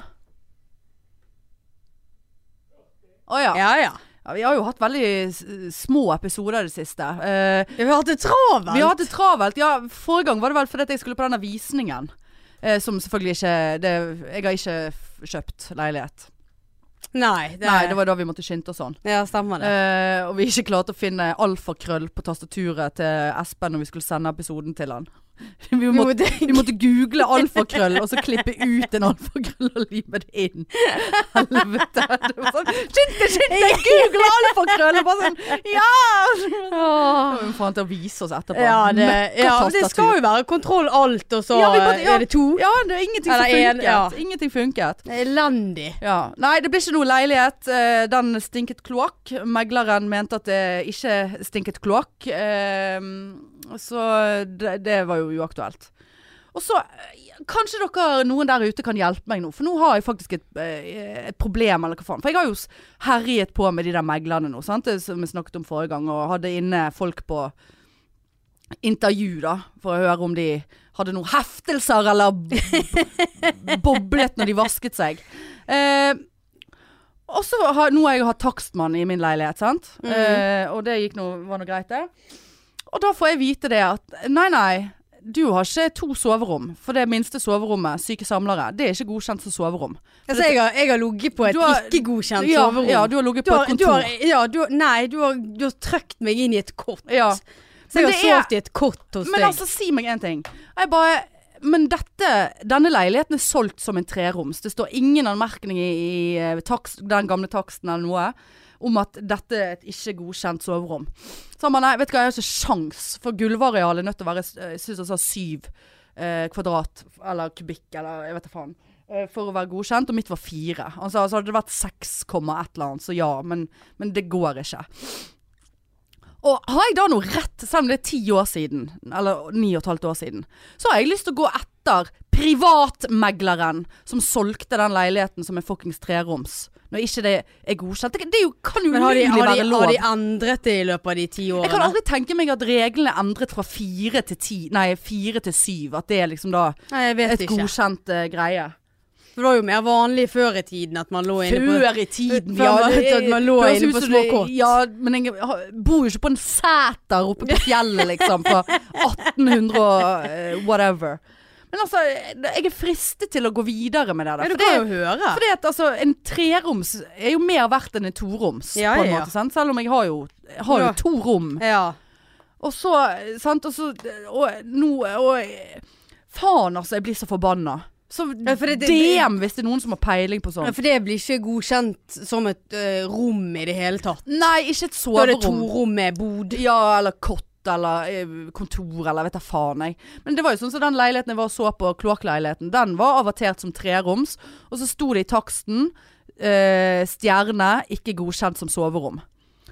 Speaker 1: Å ja.
Speaker 2: Ja ja.
Speaker 1: Ja, vi har jo hatt veldig s- små episoder i det siste. Eh,
Speaker 2: Vi har hatt det travelt!
Speaker 1: vi har hatt det travelt. Ja, forrige gang var det vel fordi at jeg skulle på denne visningen. Eh, som selvfølgelig ikke det, Jeg har ikke f- kjøpt leilighet.
Speaker 2: Nei, det,
Speaker 1: Nei, det var da vi måtte skynde oss sånn.
Speaker 2: Ja, stemmer det.
Speaker 1: Eh, og vi ikke klarte å finne alfakrøll på tastaturet til Espen når vi skulle sende episoden til han. Vi
Speaker 2: Jo,
Speaker 1: måtte,
Speaker 2: det,
Speaker 1: vi måtte google alfakrøll, og så klippe ut en alfakrøll og lime det inn. Helvete. Det var sånn, skynd deg, skynd deg! Google alfakrøll! Og bare sånn, ja!
Speaker 2: Åh.
Speaker 1: Hun får han til å vise oss etterpå.
Speaker 2: Ja, det, ja, men det skal jo være kontroll alt, og så
Speaker 1: Ja, vi måtte- ja.
Speaker 2: er det to.
Speaker 1: Ja, det er ingenting som
Speaker 2: Eller en,
Speaker 1: funket.
Speaker 2: ja.
Speaker 1: Ingenting funket.
Speaker 2: Elendig.
Speaker 1: Ja. Nei, det blir ikke noe leilighet. Eh, Den stinket kloakk. Megleren mente at det ikke stinket kloakk. Eh, Så det, det var jo uaktuelt. Og så eh, Kanskje dere, noen der ute kan hjelpe meg nå, for nå har jeg faktisk et, eh, et problem, eller hva faen. For jeg har jo s- herjet på med de der meglerne nå, sant? Det som vi snakket om forrige gang, og hadde inne folk på intervju, da, for å høre om de hadde noen heftelser eller b- b- boblet når de vasket seg. Eh, og så har, nå har jeg hatt takstmann i min leilighet, sant?
Speaker 2: Mm.
Speaker 1: eh, og det gikk nå, var nå greit, det. Og da får jeg vite det at nei, nei, du har ikke to soverom. For det minste soverommet, syke samlere, det er ikke godkjent som soverom.
Speaker 2: Altså, jeg har, jeg har ligget på et
Speaker 1: Du har-
Speaker 2: ikke-godkjent
Speaker 1: ja,
Speaker 2: soverom.
Speaker 1: ja, du har ligget
Speaker 2: Du
Speaker 1: på
Speaker 2: har,
Speaker 1: et
Speaker 2: du har,
Speaker 1: kontor.
Speaker 2: ja, du, har- nei, du har, du har trøkt meg inn i et kott.
Speaker 1: Ja.
Speaker 2: Så
Speaker 1: Men
Speaker 2: jeg har
Speaker 1: det er-
Speaker 2: sovet i et kott hos
Speaker 1: Men
Speaker 2: deg.
Speaker 1: altså, si meg en ting. Jeg bare men dette, denne leiligheten er solgt som en treroms. Det står ingen anmerkning i, i eh, takst, den gamle taksten eller noe om at dette er et ikke godkjent soverom. Så han bare nei, vet du hva, jeg har ikke sjans, for gulvarealet er nødt til å være eh, jeg synes han sa syv eh, kvadrat eller kubikk eller jeg vet da faen. eh, For å være godkjent, og mitt var fire. Han sa altså, hadde det vært seks komma et eller annet, så ja, men, men det går ikke. Og har jeg da noe rett, selv om det er ti år siden, eller ni og et halvt år siden, så har jeg lyst til å gå etter privatmegleren som solgte den leiligheten som er fuckings treroms. Når ikke det er godkjent. Det, det er jo, kan jo
Speaker 2: Men har de,
Speaker 1: umulig
Speaker 2: har, de,
Speaker 1: være lov.
Speaker 2: har de endret det i løpet av de ti
Speaker 1: Jeg kan
Speaker 2: årene?
Speaker 1: aldri tenke meg at reglene er endret fra fire til ti, nei fire til syv. At det er liksom da
Speaker 2: Nei, jeg vet
Speaker 1: et
Speaker 2: ikke.
Speaker 1: godkjent eh, greie.
Speaker 2: For det var jo mer vanlig før i tiden at man lå inne på
Speaker 1: Før i tiden,
Speaker 2: Før man- at man lå
Speaker 1: høres
Speaker 2: inne
Speaker 1: ut
Speaker 2: på
Speaker 1: som
Speaker 2: små
Speaker 1: det-
Speaker 2: kott.
Speaker 1: Ja, men jeg har- bor jo ikke på en sæter oppe på fjellet, liksom. På 1800 og eh, whatever. Men altså, jeg er fristet til å gå videre med det. der,
Speaker 2: Ja, du
Speaker 1: for det-
Speaker 2: kan jo høre.
Speaker 1: fordi at altså, en treroms er jo mer verdt enn en toroms,
Speaker 2: Ja,
Speaker 1: på en
Speaker 2: ja, ja.
Speaker 1: måte. Sant? Selv om jeg har jo, jeg har jo
Speaker 2: Ja.
Speaker 1: to rom.
Speaker 2: Ja.
Speaker 1: Og så, sant, og så Og nå og, Faen, altså, jeg blir så forbanna. Så
Speaker 2: Ja, for det- det-
Speaker 1: DM hvis det er noen som har peiling på
Speaker 2: Ja,
Speaker 1: sånt.
Speaker 2: For det blir ikke godkjent som et eh, rom i det hele tatt.
Speaker 1: Nei, ikke et
Speaker 2: Da er det to
Speaker 1: soverom.
Speaker 2: rom med bod.
Speaker 1: Ja, eller kott. Eller eh, kontor, eller vet da faen jeg. Men det var jo sånn som den leiligheten jeg var og så på, kloakkleiligheten, den var avertert som treroms. Og så sto det i taksten eh, 'stjerne, ikke godkjent som soverom'.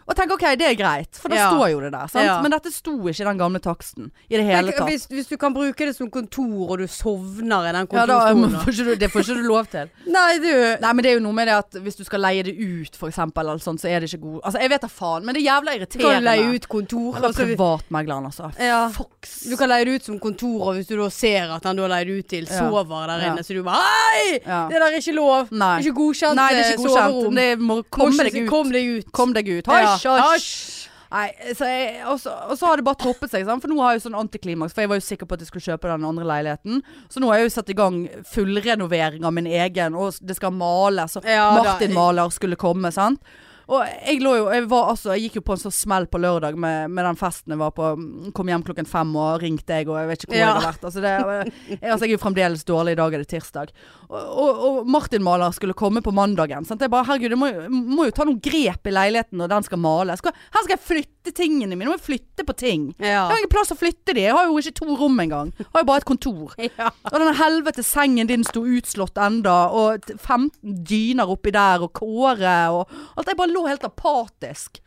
Speaker 1: Og tenk OK, det er greit, for da
Speaker 2: Ja.
Speaker 1: står jo det der. Sant?
Speaker 2: Ja.
Speaker 1: Men dette sto ikke i den gamle taksten i det hele tatt.
Speaker 2: Hvis, hvis du kan bruke det som kontor, og du sovner i den
Speaker 1: Ja, da,
Speaker 2: kontorstolen
Speaker 1: får ikke du, det får ikke du lov til.
Speaker 2: Nei, du
Speaker 1: Nei, men det er jo noe med det at hvis du skal leie det ut, for eksempel, eller sånt, så er det ikke god Altså, jeg vet da faen, men det er jævla
Speaker 2: Du kan jo
Speaker 1: irriterende.
Speaker 2: leie ut kontor.
Speaker 1: Eller
Speaker 2: altså, vi-
Speaker 1: privatmegleren, altså.
Speaker 2: ja.
Speaker 1: Fox.
Speaker 2: Du kan leie det ut som kontor, og hvis du da ser at han du har leid ut til,
Speaker 1: Ja.
Speaker 2: sover der
Speaker 1: Ja.
Speaker 2: inne, så du bare Hei!
Speaker 1: Ja.
Speaker 2: Det der er ikke lov.
Speaker 1: Nei.
Speaker 2: Ikke godkjent, eh,
Speaker 1: Nei, det er ikke godkjent.
Speaker 2: soverom.
Speaker 1: Det må komme deg ut.
Speaker 2: Kom deg ut.
Speaker 1: Kom deg ut.
Speaker 2: Ja.
Speaker 1: Hasj, hasj. Nei, så jeg, og, så, og så har det bare toppet seg, sant? for nå har jeg jo sånn antiklimaks. For jeg var jo sikker på at jeg skulle kjøpe den andre leiligheten. Så nå har jeg jo satt i gang fullrenovering av min egen, og det skal males. Og
Speaker 2: Ja, da-
Speaker 1: Martin Maler skulle komme, sant. Og jeg lå jo Jeg, var, altså, jeg gikk jo på en sånn smell på lørdag med, med den festen jeg var på. mm, Kom hjem klokken fem og ringte jeg, og jeg vet ikke hvor
Speaker 2: Ja.
Speaker 1: jeg har vært. Altså, det, jeg, altså, jeg er jo fremdeles dårlig. I dag er det tirsdag. Og, og, og Martin Maler skulle komme på mandagen. Sant? Jeg bare Herregud, jeg må, jo- må jo ta noen grep i leiligheten når den skal males. Skal, her skal jeg flytte tingene mine. Nå må jeg flytte på ting.
Speaker 2: Ja.
Speaker 1: Jeg har ingen plass å flytte de. Jeg har jo ikke to rom engang. Jeg har jo bare et kontor.
Speaker 2: Ja.
Speaker 1: Og den helvete sengen din sto utslått enda, og t- 15 dyner oppi der, og Kåre og Alt jeg bare lå helt apatisk.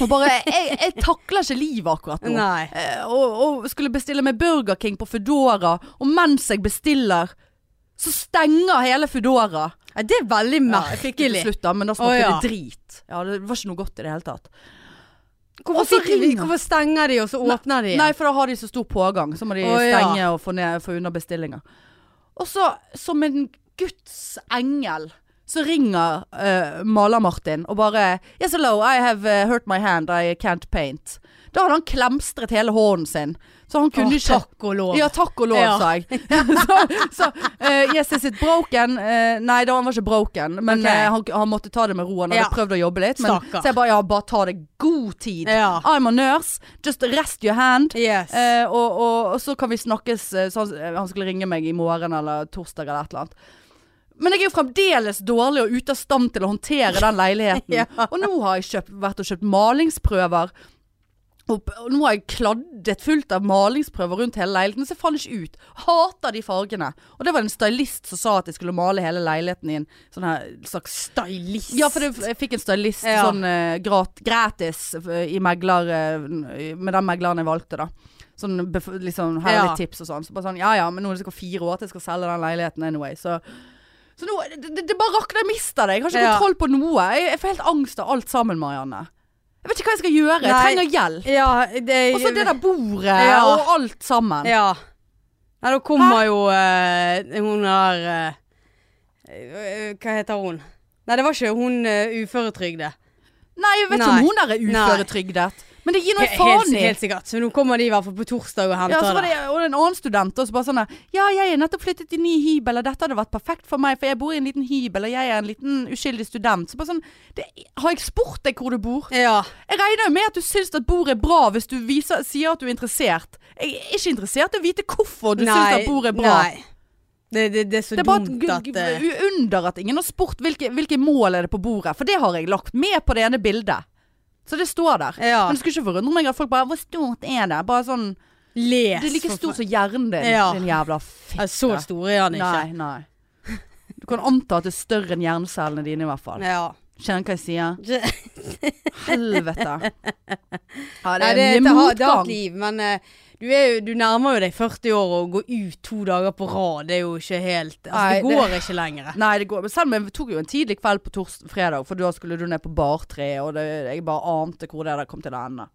Speaker 1: Og bare Jeg, jeg takler ikke livet akkurat nå.
Speaker 2: Nei.
Speaker 1: Eh, Og, og skulle bestille meg Burger King på Foodora, og mens jeg bestiller, så stenger hele Foodora.
Speaker 2: Ja, det er veldig
Speaker 1: Ja, jeg fikk det
Speaker 2: merkelig.
Speaker 1: til slutt, da, men da smakte
Speaker 2: Å, ja.
Speaker 1: det drit. Ja, det var ikke noe godt i det hele tatt.
Speaker 2: hvorfor,
Speaker 1: Og så
Speaker 2: sitter vi,
Speaker 1: ringer.
Speaker 2: hvorfor stenger de, og så åpner de?
Speaker 1: Nei, for da har de så stor pågang, så må de
Speaker 2: Å, ja.
Speaker 1: stenge og få, ned, få unna bestillinger. Og så, som en Guds engel, Så ringer eh, maler-Martin og bare Yes, hello, I have eh, hurt my hand, I can't paint. Da hadde han klemstret hele hånden sin. Så han kunne
Speaker 2: Åh,
Speaker 1: ikke
Speaker 2: Takk og lov.
Speaker 1: Ja, takk og lov,
Speaker 2: Ja.
Speaker 1: sa jeg. så så eh, yes, is it broken? Eh, nei, da han var ikke broken, men
Speaker 2: Ok.
Speaker 1: eh, han, han måtte ta det med ro. Han hadde
Speaker 2: Ja.
Speaker 1: prøvd å jobbe litt. Men,
Speaker 2: Stakkar.
Speaker 1: så jeg bare ja, bare ta det god tid.
Speaker 2: Ja.
Speaker 1: I'm a nurse, just rest your hand.
Speaker 2: Yes.
Speaker 1: Eh, og, og, og så kan vi snakkes eh, så han, eh, han skulle ringe meg i morgen eller torsdag eller et eller annet. Men jeg er jo fremdeles dårlig og ute av stand til å håndtere den leiligheten.
Speaker 2: Ja.
Speaker 1: Og nå har jeg kjøpt, vært og kjøpt malingsprøver. Og, og nå har jeg kladdet fullt av malingsprøver rundt hele leiligheten. Det ser faen ikke ut. Hater de fargene. Og det var en stylist som sa at jeg skulle male hele leiligheten i en sånn her slags
Speaker 2: Stylist.
Speaker 1: ja, for det, jeg fikk en stylist
Speaker 2: Ja.
Speaker 1: sånn eh, grat, gratis eh, i megler, eh, med den megleren jeg valgte, da. Sånn bef liksom, her er
Speaker 2: Ja.
Speaker 1: litt tips og sånn. Så bare sånn, ja ja, men nå er det sikkert fire år til jeg skal selge den leiligheten anyway, så Så nå, det, det- det bare rakner. Jeg mister det. Jeg har ikke
Speaker 2: Ja.
Speaker 1: kontroll på noe. Jeg, jeg får helt angst av alt sammen, Marianne. Jeg vet ikke hva jeg skal gjøre. Jeg
Speaker 2: Nei.
Speaker 1: trenger hjelp.
Speaker 2: Ja, det
Speaker 1: Og så det der bordet
Speaker 2: Ja.
Speaker 1: og alt sammen.
Speaker 2: Ja. Nei, da kommer jo eh, hun der eh, eh, Hva heter hun? Nei, det var ikke hun uh, uføretrygde.
Speaker 1: Nei, jeg vet ikke
Speaker 2: Nei.
Speaker 1: om hun der er uføretrygdet. Men det gir noe
Speaker 2: He-
Speaker 1: faen
Speaker 2: helt,
Speaker 1: i.
Speaker 2: helt sikkert. Så nå kommer de i hvert fall på torsdag og
Speaker 1: Ja,
Speaker 2: henter
Speaker 1: så var
Speaker 2: det.
Speaker 1: det og en annen student også bare sånn der, Ja, jeg er nettopp flyttet i ny hybel, og dette hadde vært perfekt for meg, for jeg bor i en liten hybel, og jeg er en liten uskyldig student. Så bare sånn det, Har jeg spurt deg hvor du bor?
Speaker 2: Ja.
Speaker 1: Jeg regner jo med at du syns at bordet er bra hvis du viser, sier at du er interessert. Jeg er ikke interessert i å vite hvorfor du syns at bordet er bra.
Speaker 2: Nei. Det, det, det er så
Speaker 1: Det er bare et
Speaker 2: dumt
Speaker 1: gu-
Speaker 2: at
Speaker 1: gu-
Speaker 2: eh,
Speaker 1: u- under at ingen har spurt hvilke, hvilke mål er det på bordet, for det har jeg lagt med på det ene bildet. Så det står der.
Speaker 2: Ja.
Speaker 1: Men det skulle ikke forundre meg at folk bare Hvor stort er det? Bare sånn
Speaker 2: Les.
Speaker 1: det er like
Speaker 2: for
Speaker 1: stor
Speaker 2: faen.
Speaker 1: som hjernen din,
Speaker 2: Ja.
Speaker 1: din jævla fitte.
Speaker 2: Ja, Så stor er han ikke.
Speaker 1: Nei, nei. Du kan anta at det er større enn hjernecellene dine i hvert fall.
Speaker 2: Ja.
Speaker 1: Kjenner hva jeg sier? Helvete. Ja, det
Speaker 2: Nei,
Speaker 1: er
Speaker 2: det, det,
Speaker 1: mye
Speaker 2: har, det har et
Speaker 1: motgang.
Speaker 2: liv, men eh, du, er jo, du nærmer jo deg 40 år og går ut to dager på rad. Det er jo ikke helt Altså,
Speaker 1: Nei, det-
Speaker 2: det går ikke lenger.
Speaker 1: Nei, det går. Men selv om jeg tok jo en tidlig kveld på tors fredag, for da skulle du ned på bartreet, og det, jeg bare ante hvor det der kom til å ende.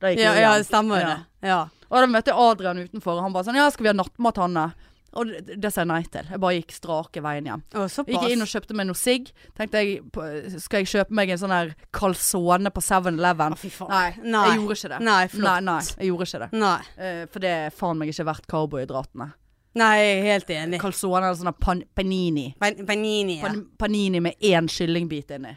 Speaker 1: Da gikk
Speaker 2: Ja,
Speaker 1: jeg
Speaker 2: ja,
Speaker 1: hjem.
Speaker 2: det stemmer jo
Speaker 1: Ja.
Speaker 2: det. Ja.
Speaker 1: Og da møtte jeg Adrian utenfor, og han bare sånn Ja, skal vi ha nattmat, Hanne? Og det, det sa jeg nei til. Jeg bare gikk strake veien hjem.
Speaker 2: Å, såpass.
Speaker 1: Gikk jeg inn og kjøpte meg noe sigg. Tenkte jeg, på- skal jeg kjøpe meg en sånn her calzone på 7-Eleven?
Speaker 2: Å, fy faen.
Speaker 1: Nei,
Speaker 2: Nei.
Speaker 1: jeg gjorde ikke det.
Speaker 2: Nei,
Speaker 1: nei,
Speaker 2: flott.
Speaker 1: nei, jeg gjorde ikke det.
Speaker 2: Nei.
Speaker 1: Eh, for det er faen meg ikke verdt karbohydratene.
Speaker 2: Nei, jeg er helt enig.
Speaker 1: Calzone eller sånn her pan panini.
Speaker 2: Pan- Panini. Ja.
Speaker 1: Pan panini med én kyllingbit inni.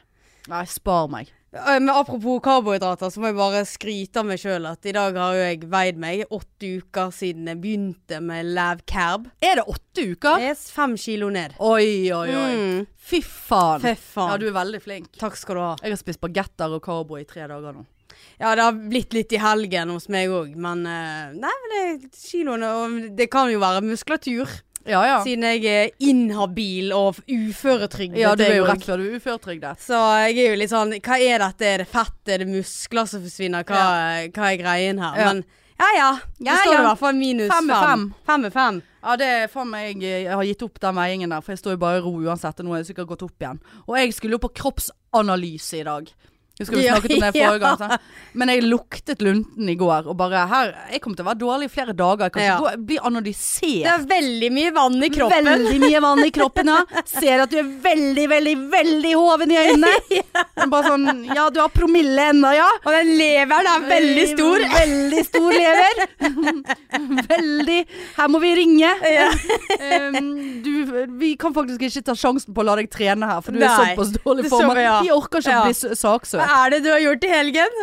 Speaker 1: Nei, spar meg.
Speaker 2: Eh, Men apropos karbohydrater, så må jeg bare skryte av meg sjøl at i dag har jo jeg veid meg åtte uker siden jeg begynte med lav carb.
Speaker 1: Er det åtte uker?
Speaker 2: Jeg er fem kilo ned.
Speaker 1: Oi, oi, oi.
Speaker 2: Eh. Mm.
Speaker 1: Fy faen.
Speaker 2: Fy
Speaker 1: Ja,
Speaker 2: faen.
Speaker 1: du er veldig flink.
Speaker 2: Takk skal du ha.
Speaker 1: Jeg har spist bagetter og karbo i tre dager nå.
Speaker 2: Ja, det har blitt litt i helgen hos meg òg, men eh, Nei, men det, kiloene og Det kan jo være muskulatur,
Speaker 1: Ja ja.
Speaker 2: siden jeg er inhabil og uføretrygdet.
Speaker 1: Ja, du
Speaker 2: jeg
Speaker 1: er jo
Speaker 2: også.
Speaker 1: rett før du er uføretrygdet.
Speaker 2: Så jeg er jo litt sånn Hva er dette? Er det fett? Er det muskler som forsvinner? Hva, hva er greien her?
Speaker 1: Ja.
Speaker 2: Men ja ja. Det
Speaker 1: Ja,
Speaker 2: står
Speaker 1: ja.
Speaker 2: i hvert fall minus
Speaker 1: Fem
Speaker 2: fem.
Speaker 1: med
Speaker 2: Fem med fem.
Speaker 1: Ja, det er faen meg eh, Jeg har gitt opp den veiingen der, for jeg står jo bare i ro uansett, og nå har jeg sikkert gått opp igjen. Og jeg skulle jo på kroppsanalyse i dag. Husker vi
Speaker 2: Ja,
Speaker 1: snakket om det forrige
Speaker 2: ja.
Speaker 1: gang? sant? Men jeg luktet lunten i går, og bare her Jeg kommer til å være dårlig i flere dager. Jeg kan
Speaker 2: Ja.
Speaker 1: ikke gå, bli analysert.
Speaker 2: Det er veldig mye vann i kroppen.
Speaker 1: Veldig mye vann i kroppen, ja. Ser at du er veldig, veldig, veldig hoven i øynene. Men Bare sånn Ja, du har promille ennå, ja.
Speaker 2: Og den leveren er veldig stor.
Speaker 1: Veldig stor lever. Veldig Her må vi ringe.
Speaker 2: Ja.
Speaker 1: Um, du, vi kan faktisk ikke ta sjansen på å la deg trene her, for du er
Speaker 2: Nei.
Speaker 1: såpass dårlig
Speaker 2: Det
Speaker 1: form.
Speaker 2: så- ja.
Speaker 1: Vi orker ikke
Speaker 2: Ja.
Speaker 1: å bli s-
Speaker 2: Hva
Speaker 1: saksøkt.
Speaker 2: er det du har gjort i helgen?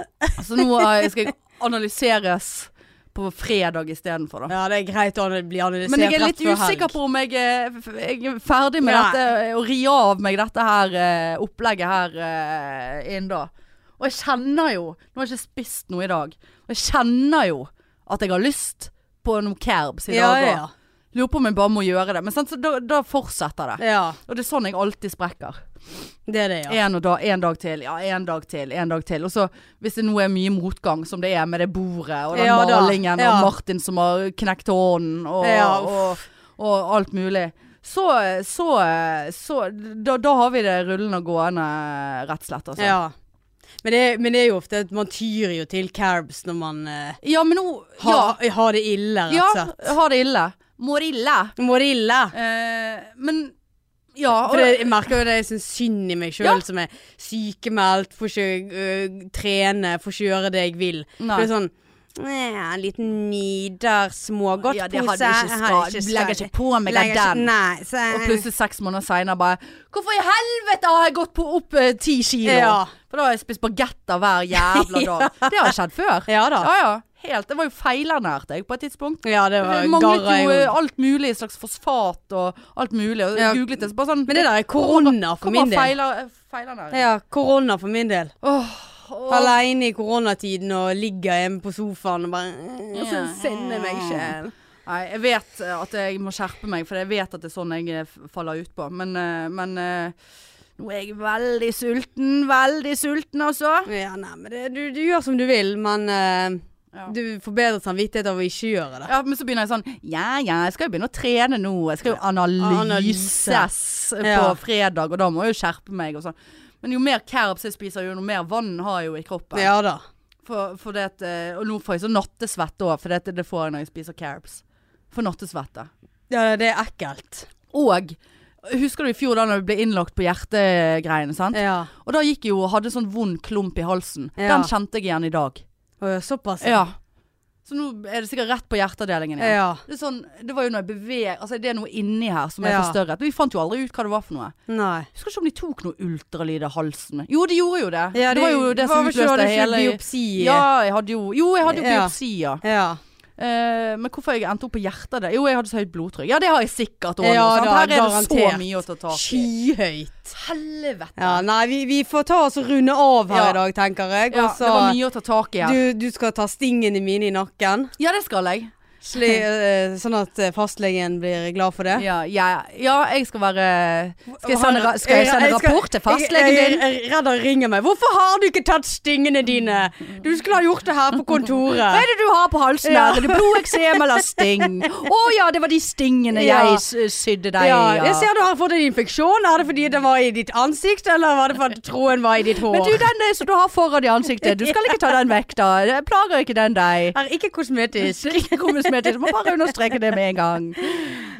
Speaker 1: Så nå eh, skal jeg analyseres på fredag istedenfor, da.
Speaker 2: Ja, det er greit å bli analysert
Speaker 1: Men jeg er
Speaker 2: rett
Speaker 1: litt
Speaker 2: før helg.
Speaker 1: usikker på om jeg, eh, f- jeg er ferdig med
Speaker 2: Nei.
Speaker 1: dette og ri av meg dette her eh, opplegget her eh, inn da. Og jeg kjenner jo Nå har jeg ikke spist noe i dag. Og jeg kjenner jo at jeg har lyst på noen kerbs i
Speaker 2: Ja,
Speaker 1: dag
Speaker 2: ja,
Speaker 1: òg. Lurer på om jeg bare må gjøre det. Men sant, så da, da fortsetter det.
Speaker 2: ja. ja.
Speaker 1: Og det er sånn jeg alltid sprekker.
Speaker 2: Det er det, ja.
Speaker 1: En, og da, en dag til, ja, en dag til, en dag til. Og så hvis det nå er mye motgang, som det er med det bordet og den
Speaker 2: Ja da,
Speaker 1: malingen
Speaker 2: ja.
Speaker 1: og Martin som har knekt hånden og,
Speaker 2: Ja,
Speaker 1: og, og alt mulig. Så, så, så da, da har vi det rullende og gående, rett og slett. Altså. Ja.
Speaker 2: Ja. Men, det, men det er jo ofte at man tyr jo til carbs når man eh,
Speaker 1: men nå
Speaker 2: har, har det ille,
Speaker 1: Ja, ja
Speaker 2: rett og slett.
Speaker 1: har det ille. Mår ille.
Speaker 2: Må det ille.
Speaker 1: Eh, men Ja, og,
Speaker 2: For det, jeg merker jo det jeg syns synd i meg sjøl,
Speaker 1: Ja.
Speaker 2: som er sykemeldt, får ikke øh, trene, får ikke gjøre det jeg vil.
Speaker 1: Nei.
Speaker 2: Det er sånn «Nei, En liten nidar smågodtpose.
Speaker 1: ja, det hadde jeg ikke
Speaker 2: har
Speaker 1: skal. Legger ikke på meg
Speaker 2: legger ikke-
Speaker 1: den.
Speaker 2: Nei, så,
Speaker 1: Og plutselig seks måneder seinere bare 'Hvorfor i helvete har jeg gått på opp eh, ti kilo?'
Speaker 2: Ja.
Speaker 1: For da har jeg spist bagetter hver jævla dag. Det har skjedd før.
Speaker 2: Ja da.
Speaker 1: Ja, ja. Helt. Jeg var jo feilernært jeg på et tidspunkt.
Speaker 2: Ja, det var
Speaker 1: Jeg manglet
Speaker 2: garra
Speaker 1: jo
Speaker 2: jeg
Speaker 1: eh,
Speaker 2: jo.
Speaker 1: alt mulig slags fosfat og alt mulig. Og
Speaker 2: Ja.
Speaker 1: googlet det. Så bare sånn
Speaker 2: Men det der er korona for min del.
Speaker 1: Feiler, feilernæring.
Speaker 2: Ja, korona for min del.
Speaker 1: Åh, åh.
Speaker 2: Aleine i koronatiden og ligger hjemme på sofaen og bare øh, Så sinner jeg meg sjøl.
Speaker 1: Nei, jeg vet eh, at jeg må skjerpe meg, for jeg vet at det er sånn jeg eh, f- faller ut på. Men, eh, men eh, nå er jeg veldig sulten. Veldig sulten, altså.
Speaker 2: Ja, nei, men det, du, du gjør som du vil, men øh,
Speaker 1: Ja.
Speaker 2: du får bedre samvittighet av å ikke gjøre det.
Speaker 1: Ja, men så begynner jeg sånn Ja, ja, jeg skal jo begynne å trene nå. Jeg skal jo analyses på
Speaker 2: Ja.
Speaker 1: fredag, og da må jeg jo skjerpe meg og sånn. Men jo mer carbs jeg spiser, jo mer vann har jeg jo i kroppen.
Speaker 2: Ja da.
Speaker 1: For, for det at, eh, og nå får jeg sånn nattesvette òg, for det, det får jeg når jeg spiser carbs. For nattesvette.
Speaker 2: Ja, det er ekkelt.
Speaker 1: Og Husker du i fjor da når vi ble innlagt på hjertegreiene? sant?
Speaker 2: Ja.
Speaker 1: Og da gikk jeg jo og hadde sånn vond klump i halsen.
Speaker 2: Ja.
Speaker 1: Den kjente jeg igjen i dag.
Speaker 2: Å, ja, såpass.
Speaker 1: Ja. Så nå er det sikkert rett på hjerteavdelingen igjen.
Speaker 2: Ja.
Speaker 1: Det, er sånn, det var jo når jeg beveger Altså det er noe inni her som er
Speaker 2: Ja.
Speaker 1: forstørret. Vi fant jo aldri ut hva det var for noe.
Speaker 2: Nei.
Speaker 1: Jeg husker ikke om de tok noe ultralyd av halsen. Jo, de gjorde jo det.
Speaker 2: Ja,
Speaker 1: det var jo det som
Speaker 2: var ikke- hadde
Speaker 1: utløste
Speaker 2: ikke
Speaker 1: hele
Speaker 2: Biopsi.
Speaker 1: Ja, jeg hadde jo Jo, jeg hadde jo
Speaker 2: Ja.
Speaker 1: biopsi, ja.
Speaker 2: Ja.
Speaker 1: Eh, men hvorfor jeg endte opp på hjertet der? Jo, jeg hadde så høyt blodtrykk. Ja, det har jeg sikkert òg.
Speaker 2: Ja, da,
Speaker 1: Her er det
Speaker 2: garantert.
Speaker 1: så mye å ta tak i.
Speaker 2: Skyhøyt.
Speaker 1: Helvete.
Speaker 2: Ja, nei, vi, vi får ta oss og runde av her
Speaker 1: Ja.
Speaker 2: i dag, tenker jeg.
Speaker 1: Ja,
Speaker 2: og så
Speaker 1: det var mye å ta tak i her.
Speaker 2: du, du skal ta stingene mine i nakken,
Speaker 1: Ja, det skal jeg.
Speaker 2: sli, eh, sånn at eh, fastlegen blir glad for det.
Speaker 1: Ja, ja, ja jeg skal være Skal jeg sende, ra-
Speaker 2: Han-
Speaker 1: skal jeg
Speaker 2: Ja,
Speaker 1: sende
Speaker 2: jeg skal-
Speaker 1: rapport til fastlegen
Speaker 2: Jeg,
Speaker 1: din?
Speaker 2: jeg, jeg er redd han ringer meg. 'Hvorfor har du ikke tatt stingene dine?' Du skulle ha gjort det her på
Speaker 1: Hva
Speaker 2: kontoret.
Speaker 1: er det du har på halsen
Speaker 2: Ja.
Speaker 1: her? Er det blodeksem eller sting? Å ja, det var de stingene
Speaker 2: Ja.
Speaker 1: jeg s- sydde deg i.
Speaker 2: Ja,
Speaker 1: ja.
Speaker 2: jeg ser du har fått en infeksjon. Er det fordi den var i ditt ansikt, eller var det fordi tråden var i ditt hår?
Speaker 1: Men du, den eh, som du har foran i ansiktet, du skal ikke ta den vekk, da. Det Plager ikke den deg?
Speaker 2: er ikke kosmetisk.
Speaker 1: Ikke kosmetisk. Må bare understreke det med en gang.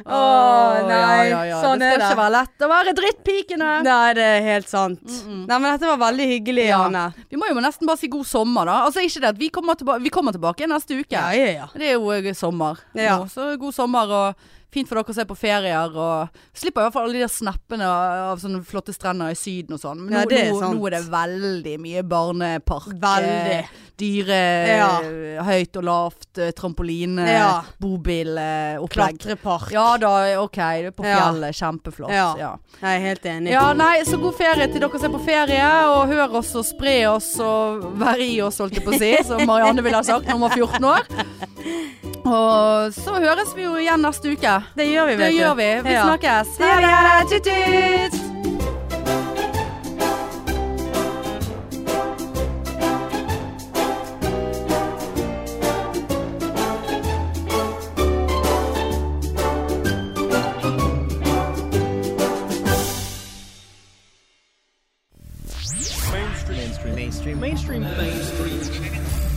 Speaker 1: Å
Speaker 2: nei, sånn
Speaker 1: det. skal
Speaker 2: er det.
Speaker 1: ikke være lett å være drittpikene.
Speaker 2: Nei, det er helt sant. Nei, men dette var veldig hyggelig,
Speaker 1: Ja.
Speaker 2: Anne.
Speaker 1: Vi må jo nesten bare si god sommer, da. Altså ikke det at vi kommer, tilba vi kommer tilbake neste uke.
Speaker 2: Ja, ja, ja.
Speaker 1: Det er jo eh, sommer
Speaker 2: Ja.
Speaker 1: nå, så god sommer og fint for dere å se på ferier. Og slipper i hvert fall alle de der snappene av sånne flotte strender i Syden og sånn. Men
Speaker 2: Ja,
Speaker 1: nå,
Speaker 2: det er
Speaker 1: nå,
Speaker 2: sant.
Speaker 1: nå er det veldig mye barnepark.
Speaker 2: Veldig.
Speaker 1: eh, Dyre,
Speaker 2: Ja.
Speaker 1: eh, høyt og lavt, eh, trampoline,
Speaker 2: Ja.
Speaker 1: bobilopplegg.
Speaker 2: Klatrepark.
Speaker 1: Ja da, OK. Du er på
Speaker 2: Ja.
Speaker 1: fjellet. Kjempeflott.
Speaker 2: Ja.
Speaker 1: Ja.
Speaker 2: Jeg er helt enig.
Speaker 1: Ja, nei, så god ferie til dere som er på ferie, og hør oss og spre oss og være i oss, holdt jeg på å si, som Marianne ville ha sagt når hun var 14 år. Og så høres vi jo igjen neste uke.
Speaker 2: Det gjør vi, vet
Speaker 1: Det
Speaker 2: du.
Speaker 1: gjør vi. Vi
Speaker 2: Ja.
Speaker 1: snakkes.
Speaker 2: Det gjør vi. Ha det. Tut-tut.
Speaker 4: mainstream, mainstream, mainstream, mainstream, mainstream.